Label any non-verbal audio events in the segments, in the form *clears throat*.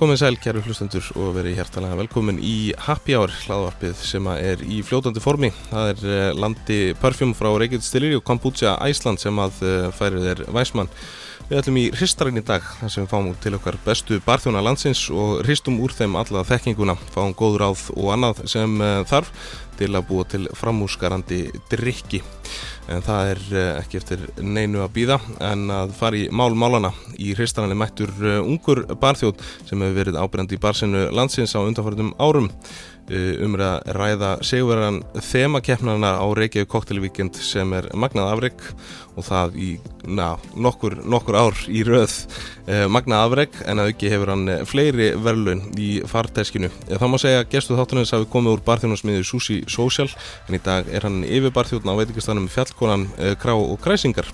Komið sæl, kæru hlustendur og verið hjertalega velkomin í Happy Hour hlaðvarpið sem að er í fljótandi formi. Það er eh, landi parfjum frá Reykjavík Stiliri og Kombucha Æsland sem að eh, færir þér væsmann. Við ætlum í hristarinn í dag þar sem við fáum til okkar bestu barþjóna landsins og hristum úr þeim alla þekkinguna, fáum góð ráð og annað sem eh, þarf til að búa til framúskarandi drikki. En það er eh, ekki eftir neinu að býða en að fara í mál málana. Í hristarann er mættur eh, ungur barþjóð sem hefur verið ábyrjandi í barsinu landsins á undanfærtum árum. Eh, Um er að ræða sigurverðan þemakeppnarna á Reykjavík koktelvíkend sem er magnað afreg og það í na, nokkur, nokkur ár í röð eh, magnað afreg en að auki hefur hann eh, fleiri verðlun í farteskinu. Eh, Það má segja að gestu þáttunins hafi komið úr barþjónarsmiðu Susi Social en í dag er hann yfirbarþjóðn á veitingastanum Fjallkonan eh, Krá og Kræsingar.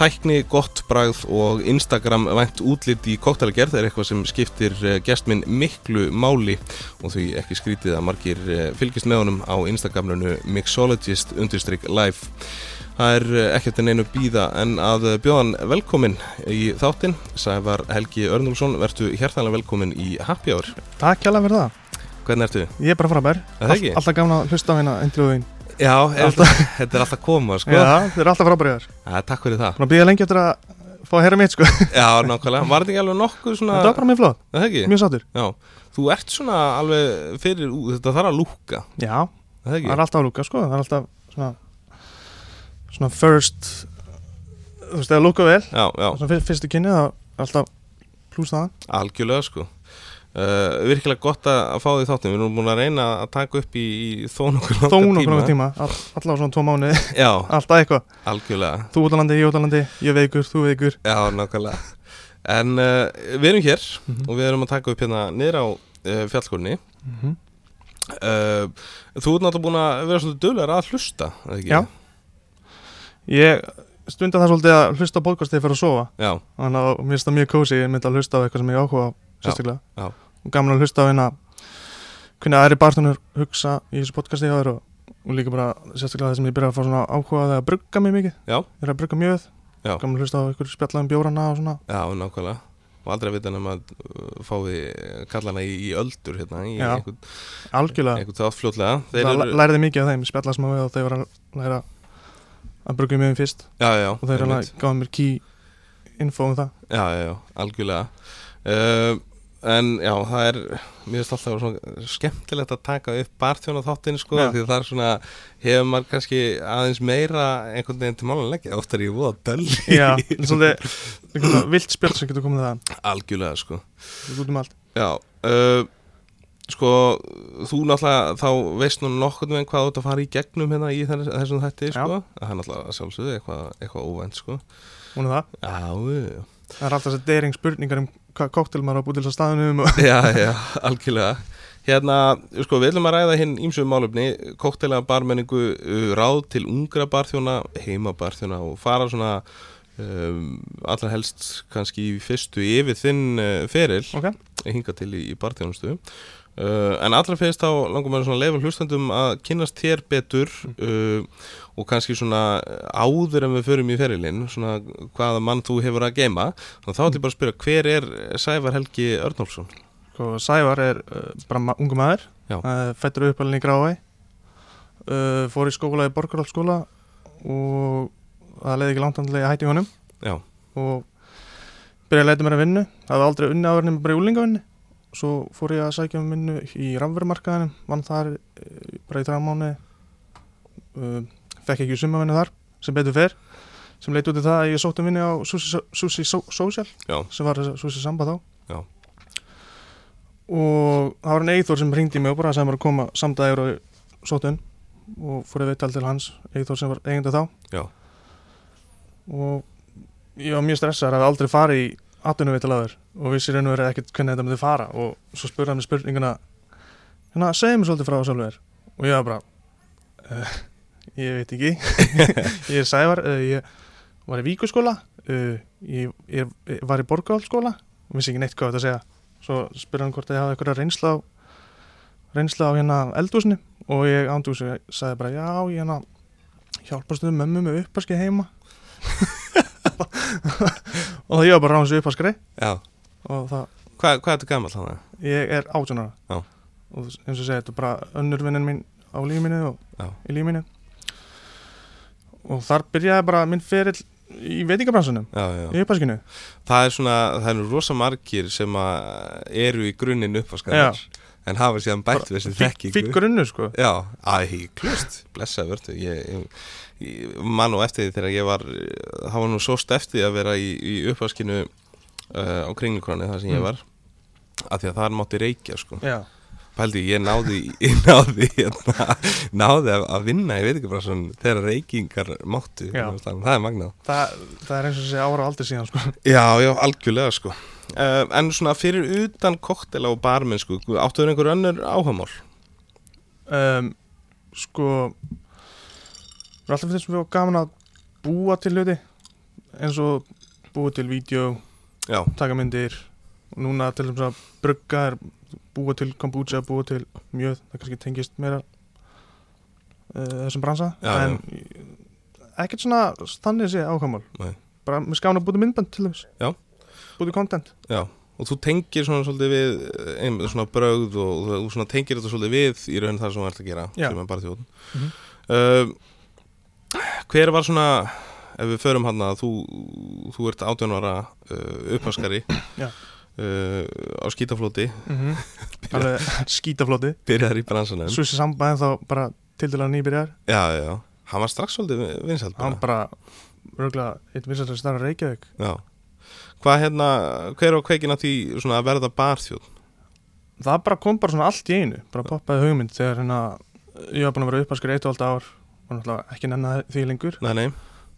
Tækni, gott bragð og Instagram vænt útlit í koktelagerð er eitthvað sem skiptir eh, gestminn miklu máli og því ekki skrítið að margir eh, fylgist með honum á Instagramlunu mixologist live Það er eh, ekkert en einu býða en að bjóðan velkomin í þáttinn Sævar Helgi Örnulsson, vertu hjertanlega velkomin í Happy Hour Takk hjá fyrir það, Hvernig ertu? ég er bara frábær Er það ekki? Alltaf gaman að hlusta á hérna indrjóðin Já, er- þetta er alltaf að koma sko Já, þið eru alltaf frábæriðar Takk fyrir það Búin að býða lengi eftir að fá að heyra *laughs* mitt sko Já, nákvæmlega, var þetta ekki alveg nokkuð svona Þetta var bara mjög flott, Er það ekki? mjög sattur Já, þú ert svona alveg fyrir, ú- þetta þarf að lúka, Já, er það það ekki? er alltaf að lúka sko Það er alltaf svona Svona first Þú veist, það lúka vel Já, já, Svona fyr- fyrstu kynni, það er alltaf pluss það algjörlega sko. Uh, virkilega gott að að fá því þáttum, við erum búin að reyna að taka upp í, í þó nokkur Þó nokkur nokkur tíma, all, allavega svona tvo mánu *laughs* Já, Alltaf eitthvað, algjörlega, þú útlandi, ég útlandi Ég veikur, þú veikur já, nákvæmlega. En uh, við erum hér og við erum að taka upp hérna niður á uh, fjallskorni. Mhm. Uh, þú ert náttúrulega búin að vera svolítið dölur að hlusta, er það ekki? Já. Ég stunda það svolítið að hlusta á podcastið fyrir að sofa Já, þannig að mér finnst það mjög kósi, ég myndi að hlusta á eitthvað sem ég áhuga á sérstaklega já. og gaman að hlusta á hérna hvernig aðri bartunur hugsa í þessu podcasti hjá þér og, og líka bara sérstaklega það sem ég byrja að fá svona áhuga á því að brugga mig mikið Já. ég er að brugga mjög Já. gaman að hlusta á einhverju spjalla um bjórana og svona Já, nákvæmlega og aldrei að vita nema að uh, fá því kallana í, í öldur hérna í Já. einhvern, algjörlega, einhvern þátt fljótlega Þeir það eru, eru... læriði mikið af þeim spjalla smá við og þeir var að læra að brugga mjög um fyrst já, já, og þeir eru einmitt. að gáða mér key info um *laughs* það já, já, já, algjörlega uh, En já, það er mér finnst alltaf svona skemmtilegt að taka upp barþjóna þáttinn sko, Já. því það er svona hefur maður kannski aðeins meira einhvern veginn til málan leggja, oft er ég voða dölli já, svolítið einhvern veginn vilt spjall sem getur komið það Algjörlega, sko út um allt Já, uh, sko þú náttúrulega þá veist nú nokkurn veginn hvað þú ert að fara í gegnum hérna í þess, þessum þætti, Já. sko það er náttúrulega að sjálfsögðu eitthvað, eitthvað óvænt, sko hún er það Já, já, Það er alltaf þess að deyring spurningar um hvað koktel maður á að búið til þess að staðinu *laughs* um og... já, já, algjörlega Hérna, sko, við ætlum að ræða hinn ímsum málefni, koktela barmenningu uh, ráð til ungra barþjóna heima barþjóna og fara svona um, allra helst kannski í fyrstu yfir þinn uh, feril Ok, hinga til í, í barþjónustu uh, en allra fyrst þá langar maður svona að leifa hlustandum að kynnast þér betur uh, og kannski svona áður en við förum í ferilinn svona hvaða mann þú hefur að geima þannig að þá ætlum ég bara að spyrja hver er Sævar Helgi Örnólfsson og Sko, Sævar er uh, bara ma ungu maður Já. uh, Fættur uppalinn í Grávæ uh, Fór í skóla í Borgarhaldsskóla og það leiði ekki langt handlega að hætti honum Já. og byrjaði að leita mér að vinnu Það var aldrei unni áður nema bara í úlingavinnu Svo fór ég að sækja um vinnu í rafverumarkaðanum vann þar uh, bara í þrjá mánu uh, Fekk ekki sumavinnu þar sem betur fer sem leit út í það að ég sótti um vinnu á Susi, Susi so Social Já. sem var Susi Samba þá Já. og það var hann Eithor sem ringdi mig og bara sem var að koma samdægur og sóttun og fór að viðtal til hans Eithor sem var eigandi þá Já. og ég var mjög stressaður að hafa aldrei farið í atvinnu viðtal aður og vissi raun og verið ekkert hvernig þetta myndi fara og svo spurði hann mig spurninguna hérna, segðu mér svolítið frá sjálfur þér." og ég var bara uh, ég veit ekki *laughs* ég er Sævar, uh, ég var í Víkuskóla uh, ég, ég, ég var í Borgálskóla og vissi ekki neitt hvað þetta að segja svo spyrir hann hvort að ég hafa einhverja reynsla á reynsla á hérna eldúsinu og ég ándúsi og ég sagði bara já, ég hérna hjálpast við mömmu með uppaski heima *laughs* og það ég var bara ráðum þessu uppaskri Já, og það Hva, hvað er þetta gammal þannig? Ég er 18 ára Já. og eins og ég segi, þetta er bara önnur vinnin mín á lífminni og Já. í lífminni og þar byrjaði bara minn ferill í veitingabransunum Já, já. í uppaskinu Það er svona, það eru rosa margir sem að eru í grunninn uppvaskaðar en hafa síðan bætt við þessi þekkingu. Fík grunnu sko Já, aðeins, klust, blessa vörtu. Ég, ég, ég man nú eftir því þegar ég var, það var nú sóst eftir því að vera í, í uppvaskinu uh, á kringlukroni þar sem Mm. ég var af því að þar mátti reykja sko. Já, Pældi, ég náði, ég náði, hérna, náði að, að vinna, ég veit ekki bara svona, þegar reykingar máttu, Já. það er magnað. það, það er eins og sé ára aldrei síðan sko Já, já, algjörlega sko uh, En svona fyrir utan koktela og barminn sko Áttuður einhver önnur áhamál um, Sko Við alltaf finnst við gaman að búa til hluti eins og búa til vídeo Já, taka myndir og núna til þess að brugga er búa til kombútsa, búa til mjöð það kannski tengist meira uh, þessum bransa Já, já. en ekkert svona þannig sé ákvæmál Nei. bara með skána að búa til myndband til þess Já. búa til content já Og þú tengir svona svolítið við eh, ein, svona brögð og, og þú svona tengir þetta svolítið við í raun þar sem þú ert að gera Já. sem er bara þjóðn Mhm. Hver var svona ef við förum hann að þú þú ert átjónvara uh, upphaskari Já. uh, á skítaflóti mm -hmm. alveg skítaflóti byrjaðar í bransanum svo þessi sambæðin þá bara til dæla nýbyrjar Já, já, já Hann var strax svolítið vinsælt bara hann bara röglega eitt vinsættar starra Reykjavík Já. Hvað hérna, hver var kveikin að því svona að verða barþjóð? það bara kom bara svona allt í einu bara poppaði hugmynd þegar hérna ég var búin að vera uppaskur eitt og allt ár og náttúrulega ekki nenni því lengur Nei, nei,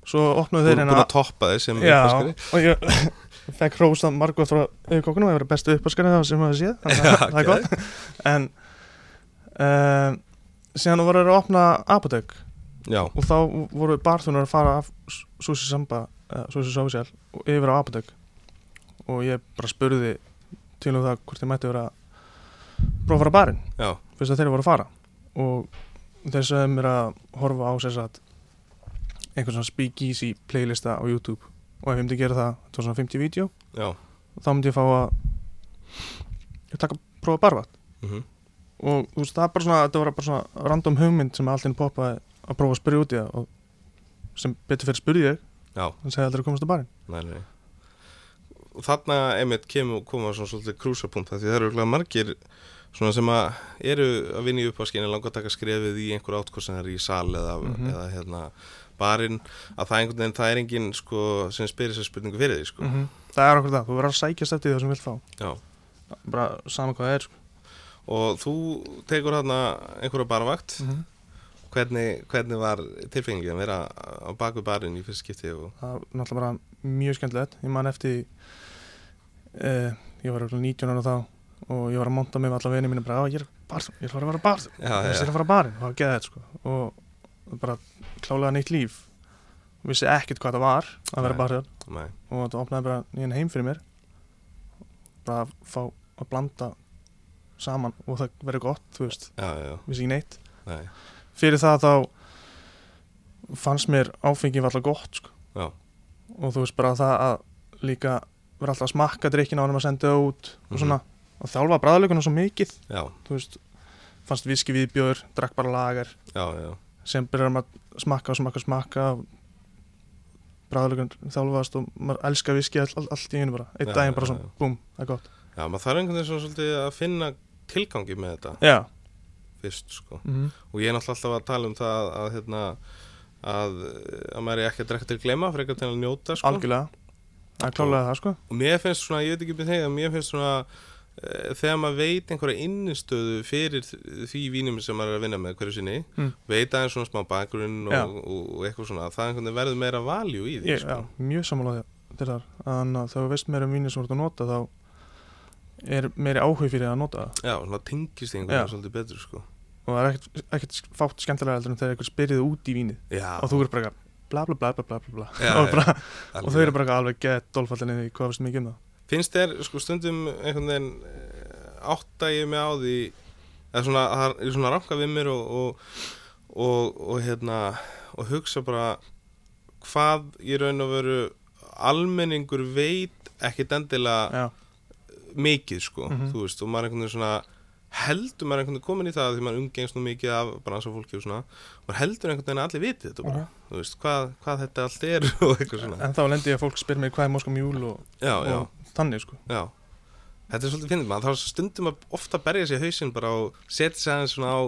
svo opnuðu þú þeir er búin hérna að toppa þeir sem já, uppvaskari. og ég *laughs* fekk hrósta margóð frá auðkokkunum að vera bestu uppaskarið það sem maður séð, þannig Já, að það er gott en um, síðan voru þeir að opna apotek Já, og þá voru barþunar að fara af Susi Samba, uh, Susi Sofisjál og yfir á apotek og ég bara spurði til og það hvort þið mætti vera að prófa að fara á barinn já, fyrst að þeir voru að fara og þeir sögðu mér að horfa á sér satt einhvern svona speakeasy playlista á YouTube og ef ég myndi gera það, þetta var svona 50 vídeo já. þá myndi ég fá að ég taka prófa barvat Mm og þú veist það er bara svona, þetta var bara svona random hugmynd sem allt inn poppaði að prófa að spyrja út í það og sem betur fyrir spurði ég Já. þannig að aldrei að komast á barinn Nei, nei. Og þarna, einmitt, kemur koma svona svolítið krúsapunkt af því það eru örugglega margir svona sem að eru að vinna í uppvaskinni langa að taka skrefið í einhver átkorsanar í sal eða, Mhm. eða hérna barinn að það, er einhvern veginn, það er enginn sko, sem spyrir sér spurningu fyrir því Mhm. sko. það er okkur það, þú verður að sækjast eftir því það sem þú vilt fá Já. bara sama hvað það er sko. og þú tekur hérna einhverja barvakt Hvernig, hvernig var tilfengið að vera á baku barinn í fyrst skipti og það var náttúrulega bara mjög skemmtilegt ég man eftir uh, ég var örugglega 19 ára þá og ég var að monta mig við alla vini mínu bara, "Á, ég er barþum, ég ætla að vera barþum Já, ég já. ætla að fara barinn og það geði þetta sko og bara klálega nýtt líf vissi ekkert hvað það var að vera Nei. barþum Nei. og þetta opnaði bara nýjan heim fyrir mér bara að fá að blanda saman og það verið gott, þú veist, Já, já, já, vissi ekki neitt nei, fyrir það þá fannst mér áfengi var alltaf gott sko. Já. og þú veist bara það að líka vera alltaf að smakka drikkina ánum að senda það út Mhm. og svona og þjálfa bræðalökunum svo mikið já, þú veist, fannst viski viðbjör drakk bara lagar já, já, sem byrjar maður að smakka og smakka og smakka og bræðalökun þjálfast og maður elska viski all, all, allt í einu bara einn Já, daginn bara já, svona, búm, það er gott já, maður þarf einhvern veginn svona svolítið að finna tilgangi með þetta Já, fyrst, sko, mm -hmm. og ég er náttúrulega alltaf að tala um það að, að hérna, að, að maður er ekki að drekka til að glema, frekar til að njóta, sko, algjörlega Það er klálega það sko og mér finnst svona, ég veit ekki með þegar, mér finnst svona, eh, þegar maður veit einhverja innistöðu fyrir því vínum sem maður er að vinna með hverju sinni, Mm. veit aðeins svona smá bakgrunn Já. og, og, og eitthvað svona, það einhvern veginn verður meira valjú í því, sko. ég, já, mjög sammála til þar þannig að þegar þú veist meira um vínir sem þú ert að nota þá er meiri áhug fyrir að nota það Já, svona tengist einhvern veginn Já. svolítið betur sko og það er ekkert, ekkert fátt skemmtilega heldur en þegar eitthvað spyrir þig út í vínið Já, og þú eru bara eitthvað bla bla bla bla bla bla bla Já, *laughs* og, já, bara, alveg. og þau eru bara eitthvað alveg gett dólfallinni í hvað veist mikið um það Finnst þér sko stundum einhvern veginn eh, átta ég mig á því eða svona, það er svona ranka við mér og, og, og, og hérna og hugsa bara hvað í raun og veru almenningur veit ekkit endilega já, mikið sko, Mhm. þú veist, og maður einhvern veginn svona heldur maður einhvern veginn komin í það því maður umgengst nú mikið af bransafólki og svona maður heldur einhvern veginn að allir viti þetta bara Mhm. þú veist, hvað, hvað þetta allt er *laughs* og eitthvað svona en þá lendi ég að fólk spyr mér hvað er Moskva Mjúl og, já, já, og þannig sko já þetta er svolítið finnir maður, þá stundum maður ofta að berja sér í hausinn bara og setja sér aðeins svona á,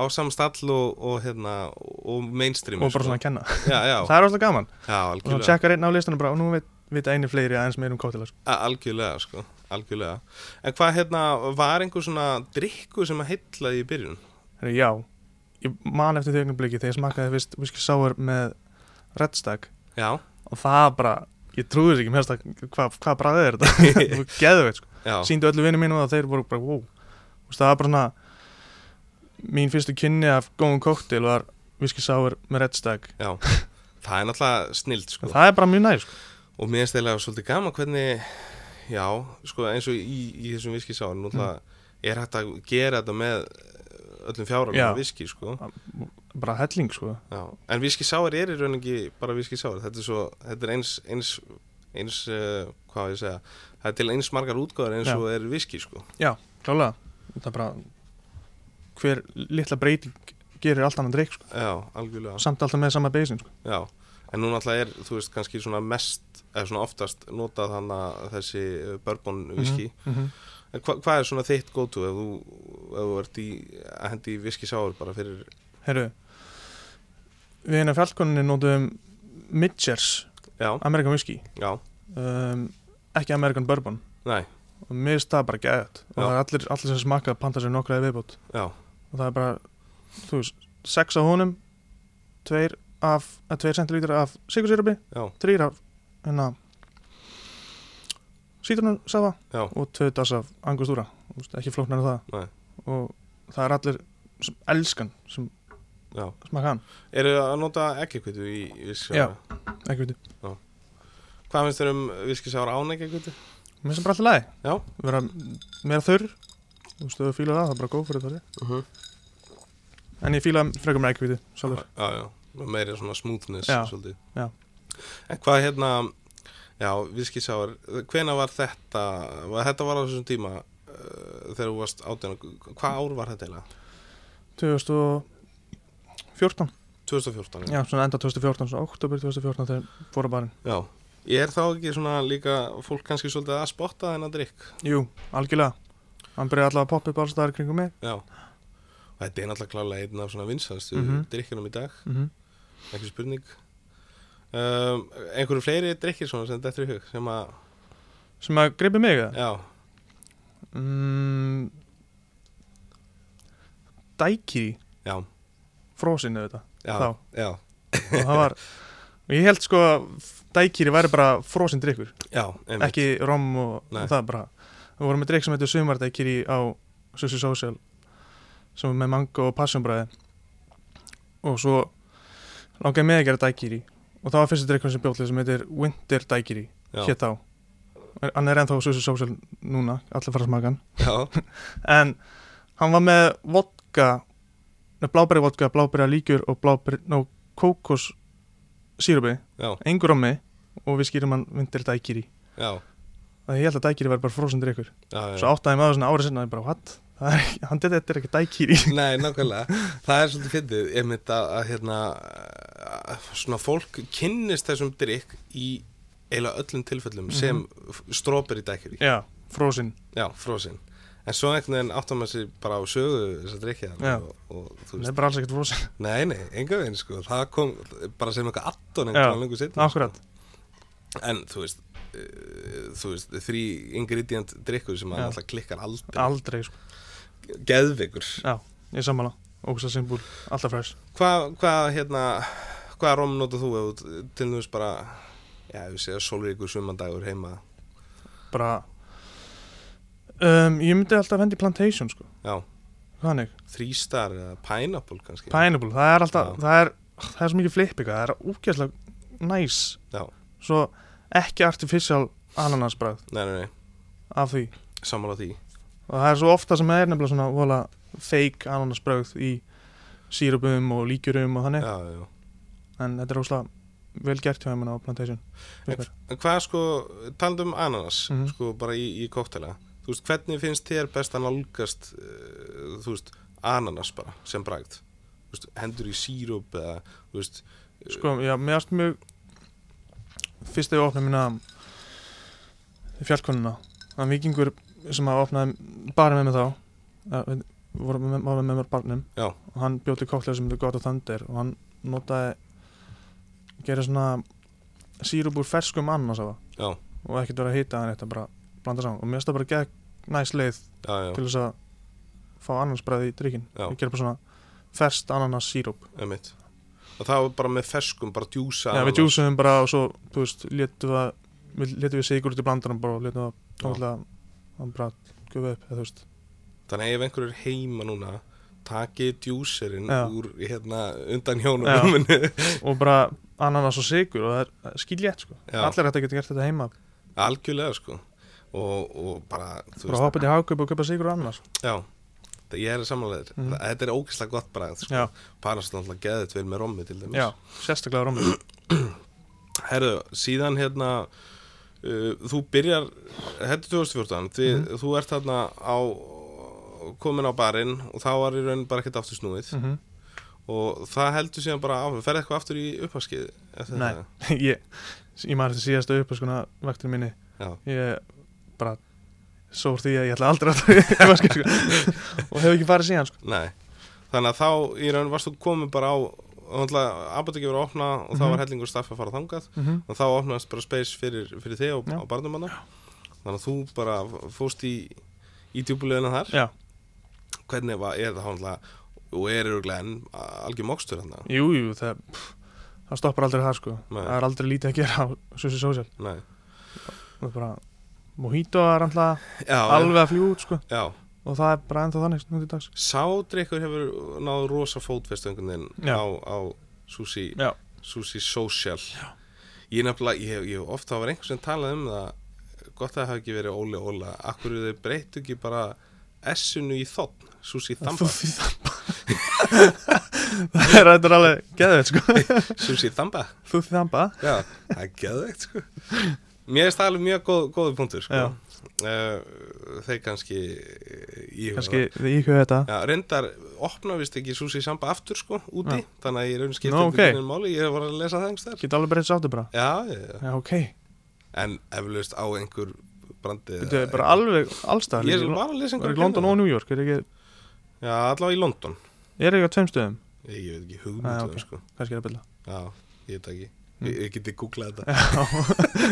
á samstall og, og hérna, og mainstream og bara svona að kenna, já, sko. *laughs* já, það er alltaf gaman já, og þá algjörlega tjekkar einn á listanum bara og nú veit, veit einu fleiri aðeins meir um kótela sko. A- Algjörlega, sko, algjörlega En hvað, hérna, var einhver svona drikku sem að heitlaði í byrjun? Herri, já, ég man eftir því augnabliki þegar ég smakaði fyrst whisky sour með Red Stag Já, og það bara, ég trúði þess ekki mér fannst það- hvað hva *laughs* bræðið er þetta Þú geðveit sko, já, síndu öllu vinnu mínu og þeir voru bara wow, Þú veist, það var bara svona mín fyrstu kynni af góðum kóktel var whisky sour með Red Stag já Það er náttúrulega snild, sko og það er bara mjög næg sko. Og mér stæðilega svolítið gaman hvernig Já, sko, eins og í, í þessum viskisárum Mm. Náttúrulega er hægt að gera þetta með öllum Já. fjáralum viski, sko bara helling sko. já. En viskisáur er í raun ekki bara viskisáur Þetta er svo, þetta er eins, eins, eins uh, Hvað á ég að segja Það er til eins margar útgáður eins Já. og er viski, sko klálega það er bara hver litla breyting gerir allt annan dreik sko. Já, algjörlega samt alltaf með sama beisin sko. Já, en nú náttúrulega er, þú veist, kannski svona mest, eða svona oftast notað hann að þessi eh, bourbon whisky. mm -hmm. En hva, hvað er svona þitt go-to ef þú, ef þú ert í, að hendi í whisky sour bara fyrir, Herru við hérna fjallkoninni notum Midgers já, American Whisky já, um, ekki American Bourbon næ, og mér finnst það bara gæðat Já. og það er allir, allir sem smakka panta sér nokkra í viðbót já, og það er bara, þú veist, sex af honum tveir af að tveir centilítur af sikursýrabi já, þrýr af hérna sítrunasafa Já. og tvö das af angustúra Þú veist, ekki flóknar en það Nei. og það er allir sem elskan sem já. smakka hann Eru þið að nota ekkikvitu í í whisky sour? Já. ekki veitir, Hvað finnst þér um whisky sour án ekkikvitu? mér finnst það bara alltaf læg Já. vera meira þurr þú veist, ef þú fílar það, það er bara góð fyrir það Uh -huh. en ég fíla frekar með ekki veitir, sjálfur Já, já, og meira svona smoothness, Já, svolítið. já. En hvað hérna, já, whisky sour, hvena var þetta, var, þetta var á þessum tíma uh, þegar þú varst átján, hvað ár var þetta eiginlega? 2014 2014? já, svona enda 2014, svona oktober 2014 þegar fóra barinn Já. Er þá ekki svona líka fólk kannski svolítið að spotta þennan drikk? jú, algjörlega hann byrjaði allavega að poppa upp alls staðar í kringum mig Já. Og þetta er náttúrulega klálega einn af svona vinsanstu mm Mhm. drikkinum í dag, mm -hmm. ekki spurning. Um, einhverju fleiri drikkir svona sem þetta er í hug, sem að, sem að greipi mig eða já, mm, Dækiri já, frosinu þetta já, Þá. já, og það var og ég held sko að dækiri væri bara frosin drikkur, já, einmitt. ekki rom og, Nei. og það bara, við vorum með drikk sem heitir sumardækiri á Sussi Social sem er með mango og passionbræði og svo langaði mig að gera dækiri og það var fyrsti drikkur sem bjóðlið sem heitir Winter Dækiri, já, hétt á hann er ennþá á Sussi Social núna allir fara að smaka hann já, en hann var með vodka blábæri vodka, blábæri líkjur og blábæri, ná, kókos sírupi, já, engur rommi og við skýrum hann vindir dækiri já, að ég held að dækiri væri bara frosin drikkur já, já. svo áttaði maður svona ári sinna og ég bara, what? Það er, ekki- hann þetta er ekki *laughs* dækiri Nei, nákvæmlega, það er svolítið fyndið ég mynd að, að hérna að, svona fólk kynnist þessum drikk í eiginlega öllum tilfellum Mhm. sem strópir í dækjur já, frosin, já, frósin en svo einhvern veginn áttar maður sér bara á sögu þessar drikkja Já. og, og þú það veist, er bara alls ekkert frosin nei, nei, enga veginn sko það kom bara sem eitthvað addon Já, einhvern lengur setna akkurat, en þú veist, uh, þú veist þrý ingredient drikkur sem Já. maður alltaf klikkar aldrei Al aldrei sko. geðveikur ég er sammála, ógust að simbúl alltaf fræs, Hvað, hvað, hérna, hvað rom notar þú ef þú til dæmis bara, já, ef við segja sólríkur sumandagur heima, bara um, ég myndi alltaf hendi plantation sko, já, þannig þrýstar eða pineapple kannski? Pineapple, það er alltaf, Já. það er, það er svo mikið flippika, það er úkjæðslega næs, Já, svo ekki artificial ananasbræð nei, nei, nei, af því sammála því, og það er svo ofta sem það er nefnilega svona vola, fake ananasbræð í sírupum og líkjurum og já, þannig já, já. en þetta er óslega vel gert hjá heimann á Plantation En hvað sko, talandum um ananas, Mhm. sko, bara í, í kóktela, þú veist, hvernig finnst þér best að nálgast uh, þú veist, ananas bara sem bragð Þú veist, hendur í síróp eða, þú veist, Sko, já, mér erst mjög Fyrst þegar ég opnaði mína Fjallkonuna Þann vikingur sem að opnaði Bara með mig þá eh, við vorum með, var með mér barnum Já. Og hann bjóti kóklega sem þetta gott og þandir Og hann notaði Gerið svona Sírub úr ferskum annars á það Já. Og ekkert verið að hýta hann eitt að bara blanda saman Og mér erst það bara gegn næs leið já, já, Til þess að fá annarsbræði í drikkin Já. Ég gerði bara svona ferskt ananas sírub emitt og það var bara með ferskum, bara djúsa Já, við ananas. djúsum bara og svo, þú veist, létum við, að- við létum við sigur út í blandanum bara og létum við að tónlega, hann bara gufa upp, eða þú veist. þannig að ef einhver er heima núna taki djúserinn Já. úr hérna, undan Já. hjónum Og bara ananas og sigur og það er- það er skiljett, sko. Já. Allir þetta getur gert þetta heima, *laughs* algjörlega sko og, og bara, þú bara hoppa til hagkaup og kaupa sigur og sko. ananas. Já, það- ég er samanlegar Mhm. mm. Þetta er ógeðslega gott bragð sko. Já. Parast náttúrulega geðið tveir með rommi til dæmis Já, sérstaklega rómur. Herðu, síðan hérna uh, Þú byrjar Þetta er 2014 því, Mhm. Þú ert þarna á komin á barinn og þá var í raun bara ekkert aftur snúið mm -hmm. og það heldur síðan bara af ferði eitthvað aftur í upphaskið eftir Nei. þetta? *laughs* ég, ég maður þetta síðasta upp, sko, vekturinn minni. Já. Ég bara sór því að ég ætla aldrei að *laughs* það, sko, og hef ekki farið síðan, sko. Nei, þannig að þá í raun varst þú komin bara á apotekki verið að opna og þá Mhm. var hellingur staff að fara þangað Mm og þá opnaðist bara space fyrir, fyrir þig og, Já. og barnumanna þannig að þú bara fóst í í djúbuleguna þar Já, hvernig var, er það hannlega og er öruglega enn algjör mokstur hann jú, jú, það, pff, það stoppar aldrei það, sko. Nei. Það er aldrei lítið að gera á Susi Social. Nei. og bara mojito er alltaf já, alveg að fljú út sko já, og það er bara ennþá þannig nú til dags sádrykkur hefur náð rosa fótfestöngundin Já. á, á sushi, Já. sushi social já. ég nefnilega, ég hef, ég hef ofta það var einhver sem talað um það gott að það hafi ekki verið óli óla akkur þau breyttu ekki bara S-unu í þotn, sushi þamba þamba *laughs* það er þetta er alveg geðveit sko sushi þamba þú þamba Já, það er geðveikt sko Mér finnst það alveg mjög góð, góður punktur sko. Já. uh, Þeir kannski í kannski þið íkjöðu þetta Já, reyndar opna vist ekki Susi Samba aftur sko, úti Þannig að ég raun skipti no, Nú, ok. okay. máli Ég var að lesa það einhvers þar geta alveg breytt sáttu bara Já, já, já. já ok en eflaust á einhver brandi þetta eða- er bara alveg allstað Eh, Ég er er hérna. bara að lesa einhver ekki London og New York er ekki Já, allavega í London er ekki á tveim stöðum Ég, ég veit ekki Ah, hugmyndu ok. okay. sko. kannski er það byrla Já, ég veit það ekki Mm. Ég, ég geti googlað þetta *laughs*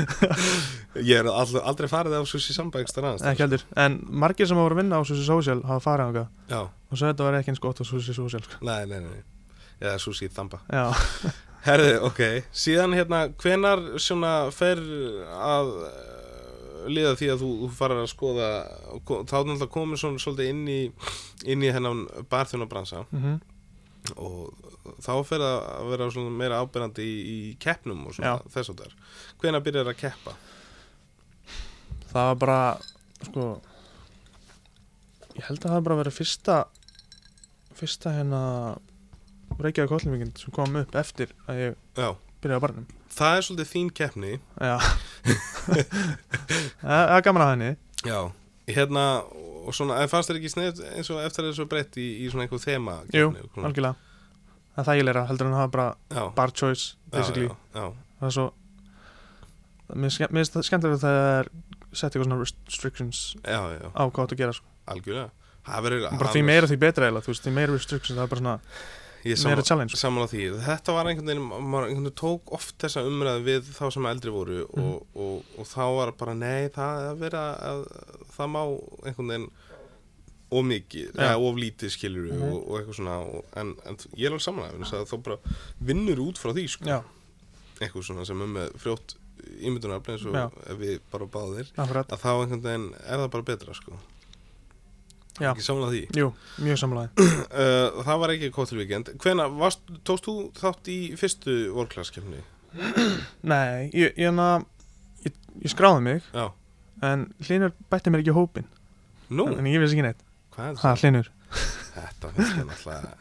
Ég er all, aldrei farið á Susi Samba ekstra annars ekki heldur en margir sem hafa voru að vinna á Susi Social hafa farið á það Já, og svo þetta var ekki eins gott á Susi Social sko. nei, nei, nei Eða Susi Thamba já Herði, ok, síðan hérna, hvenar svona fer að eh, líða því að þú, þú farir að skoða, ko- þá er náttúrulega komin svona svolítið inn í, inn í hennan barþjónabransa Mhm. og þá fer það að vera svona meira ábyrjandi í, í keppnum og svona Já. þess að það er. Hvenar byrjar að keppa? það var bara sko ég held að það hafi bara verið fyrsta fyrsta hérna Reykjavík Kollumvíkind sem kom upp eftir að ég Já, byrjaði á barnum það er svolítið þín keppni. já það það er gaman að henni Já. Hérna, og svona, en fannst þér ekki snið eins og eftir að þessu breytt í, í svona einhver þema jú, keppni? algjörlega það er þægilegra heldur en að hafa bara Já, bar choice Já, basically, já, já. það er svo mér ske- mér finnst það skemmtilega þegar það er sett eitthvað svona restrictions Já, já, já, á hvað þú átt að gera sko. algjörlega Það verður bara því meira því betra eiginlega, þú veist, því meira restrictions það er bara svona, Ég meira sam, challenge sko. saman á því Þetta var einhvern veginn, maður einhvern veginn tók oft þessa umræðu við þá sem eldri voru Mhm. og, og, og þá var bara, nei, það er verið að það má einhvern veginn of mikið, Já. eða of lítið skilur Mhm. og, og eitthvað svona og, en, en ég er alveg saman að þá bara vinnur út frá því sko, já, eitthvað svona sem er með frjótt ímyndunarfni eins og Já. ef við bara báðir akkurat að þá einhvern veginn er það bara betra sko, Já. ekki saman að því Jú, mjög samlæði. Uh, það var ekki kóttilvíkend Hvena, varst, tókst þú þátt í fyrstu vorklasskefni? *clears throat* Nei, ég, ég, hana- ég, ég skráði mig, Já, en Hlinur bætti mér ekki í hópinn, nú, en ég vissi ekki neitt. hvað er Ha, Hlinur, þetta? Þetta finnst ég náttúrulega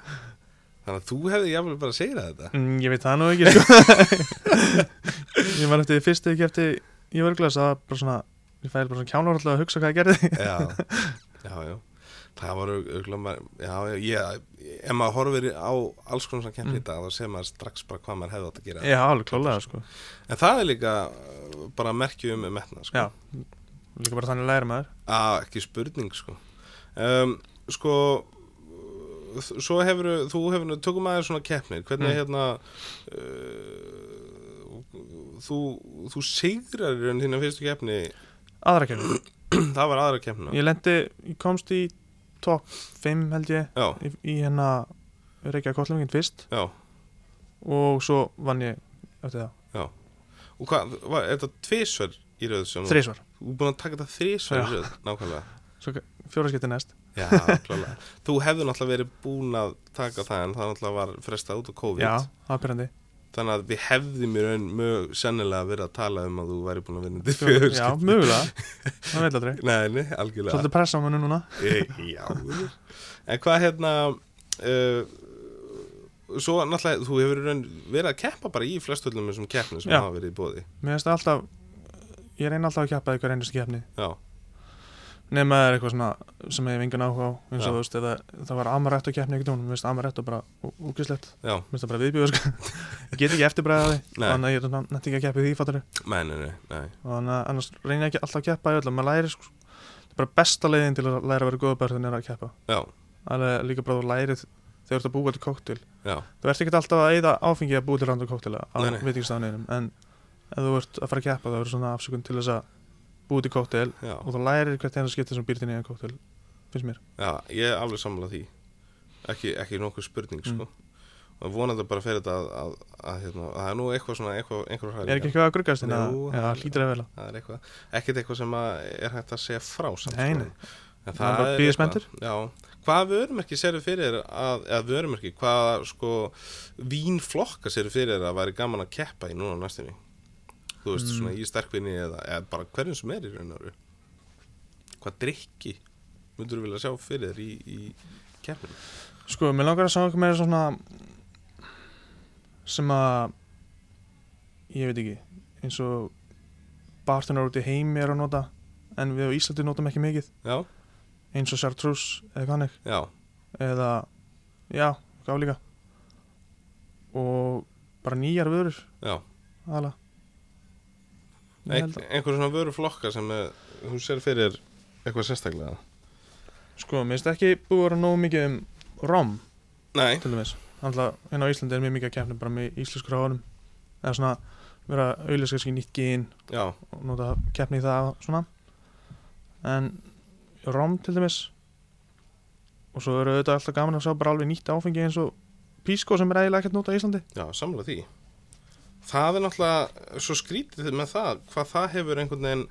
Þannig að þú hefði jafnvel bara að segja þetta mm, ég veit það nú *laughs* ekki, sko. ég var eftir því fyrst þegar ég kefti í vörglas, það var bara svona, ég fæði bara svona kjánar alltaf að hugsa hvað ég gerði já, já, já það var auðvitað já, já, ég, ef maður horfir á alls konar sem kemur í dag, þá sé maður strax bara hvað maður hefði átt að gera *laughs* Mm. já, alveg klálega sko en það er líka uh, bara merkjum um metna, sko Já. líka bara þannig læra maður að Ah, ekki spurning, sko um, sko uh, svo hefur, þú hefur tökum aðeins svona keppnir, hvernig Mm. hérna uh, þú, þú sigrar í raun þína fyrstu keppni *clears throat* aðra *clears throat* sko. kemur, það var aðra keppna ég lendi, ég komst í top 5 held ég já, í, í hérna Reykjavík Kottlingin fyrst já og svo vann ég eftir það, Og hvað, var er þetta tvisvar í röð sem þrísvar Þú, þú er búin að taka þetta þrisvar í Já. röð, nákvæmlega svo fjóraskipti næst *laughs* Já, klálega Þú hefðu náttúrulega verið búin að taka það en það náttúrulega var frestað út á COVID já, það er *laughs* pyrrandi Þannig að við hefðum í raun mjög sennilega verið að tala um að þú væri búin að vinna til fjögur já, mögulega, það veit *laughs* aldrei Nei, nei, algjörlega svolítið pressa á mönnu núna e, Já En hvað hérna uh, Svo náttúrulega, þú hefur í raun verið að keppa bara í flestöldum þessum keppnum sem Já. hafa verið í bóði mér finnst það alltaf ég reyna alltaf að kjappa ykkur einustu keppni Já, nema það er eitthvað svona sem ég hef engan áhuga á eins og Já. þú veist, eða það var amarætt og keppni ekkert um, mér finnst amarætt og bara úkislegt já, mér finnst það bara viðbjóð sko. *laughs* ég get ekki eftirbræðið því Nei. þannig að ég er svona nætti ekki að keppi því fattur nei, nei, nei, nei. þannig að annars reyna ekki alltaf að keppa í öllum maður læri sko, það er bara besta leiðin til að læra að vera góða börðin er að keppa Já, alveg líka bara þú lærið þegar þú ert að búa til koktil já, þú ert ekki alltaf að eyða áfengi að búa til randu koktil á Nei, nei. veitingstafninum en ef þú ert að fara að keppa þá er svona afsökun til þess að búa til koktil já og þú lærir hvert einu skipti sem býr til nýjan koktil finnst mér Já, ég er alveg sammála því ekki, ekki nokkuð spurning Mm. sko. og vonandi bara fyrir þetta að, að, að, hérna, að það er nú eitthvað svona eitthvað, einhver er ekki eitthvað að gruggast hérna Jú, já, það- hlýtur að vela það er eitthvað, ekkert eitthvað sem að er hægt að segja frá samt, Nei, sko. nei. En Það er bara er bíða eitthvað. spenntur. Já, hvað vörumerki serðu fyrir þér að, eða vörumerki, hvað sko vínflokka serðu fyrir þér að væri gaman að keppa í núna á næstinni þú veist, Mm. svona í sterkvinni eða, eða bara hverjum sem er í raun og veru hvað drikki myndur þú vilja sjá fyrir þér í, í keppinu? sko, mér langar að sjá eitthvað meira svona sem að ég veit ekki eins og bartunar út í heimi er að nota en við á Íslandi notum ekki mikið Já, eins og Chartreuse eða kannig já eða, já, gá líka og bara nýjar vörur Já. aðalega. Ég Ein, held að- einhver svona vöruflokka sem eh, þú sér fyrir eitthvað sérstaklega sko, mér finnst ekki búið að vera nógu mikið um rom Nei, til dæmis Alltaf hérna á Íslandi er mjög mikið að keppna bara með íslenskur áhórum eða svona vera auðvitað kannski nýtt gín já, og nota keppni í það og svona en rom til dæmis og svo eru auðvitað alltaf gaman að sjá bara alveg nýtt áfengi eins og písko sem er eiginlega ekkert nota á Íslandi já, samla því Það er náttúrulega svo skrítið með það hvað það hefur einhvern veginn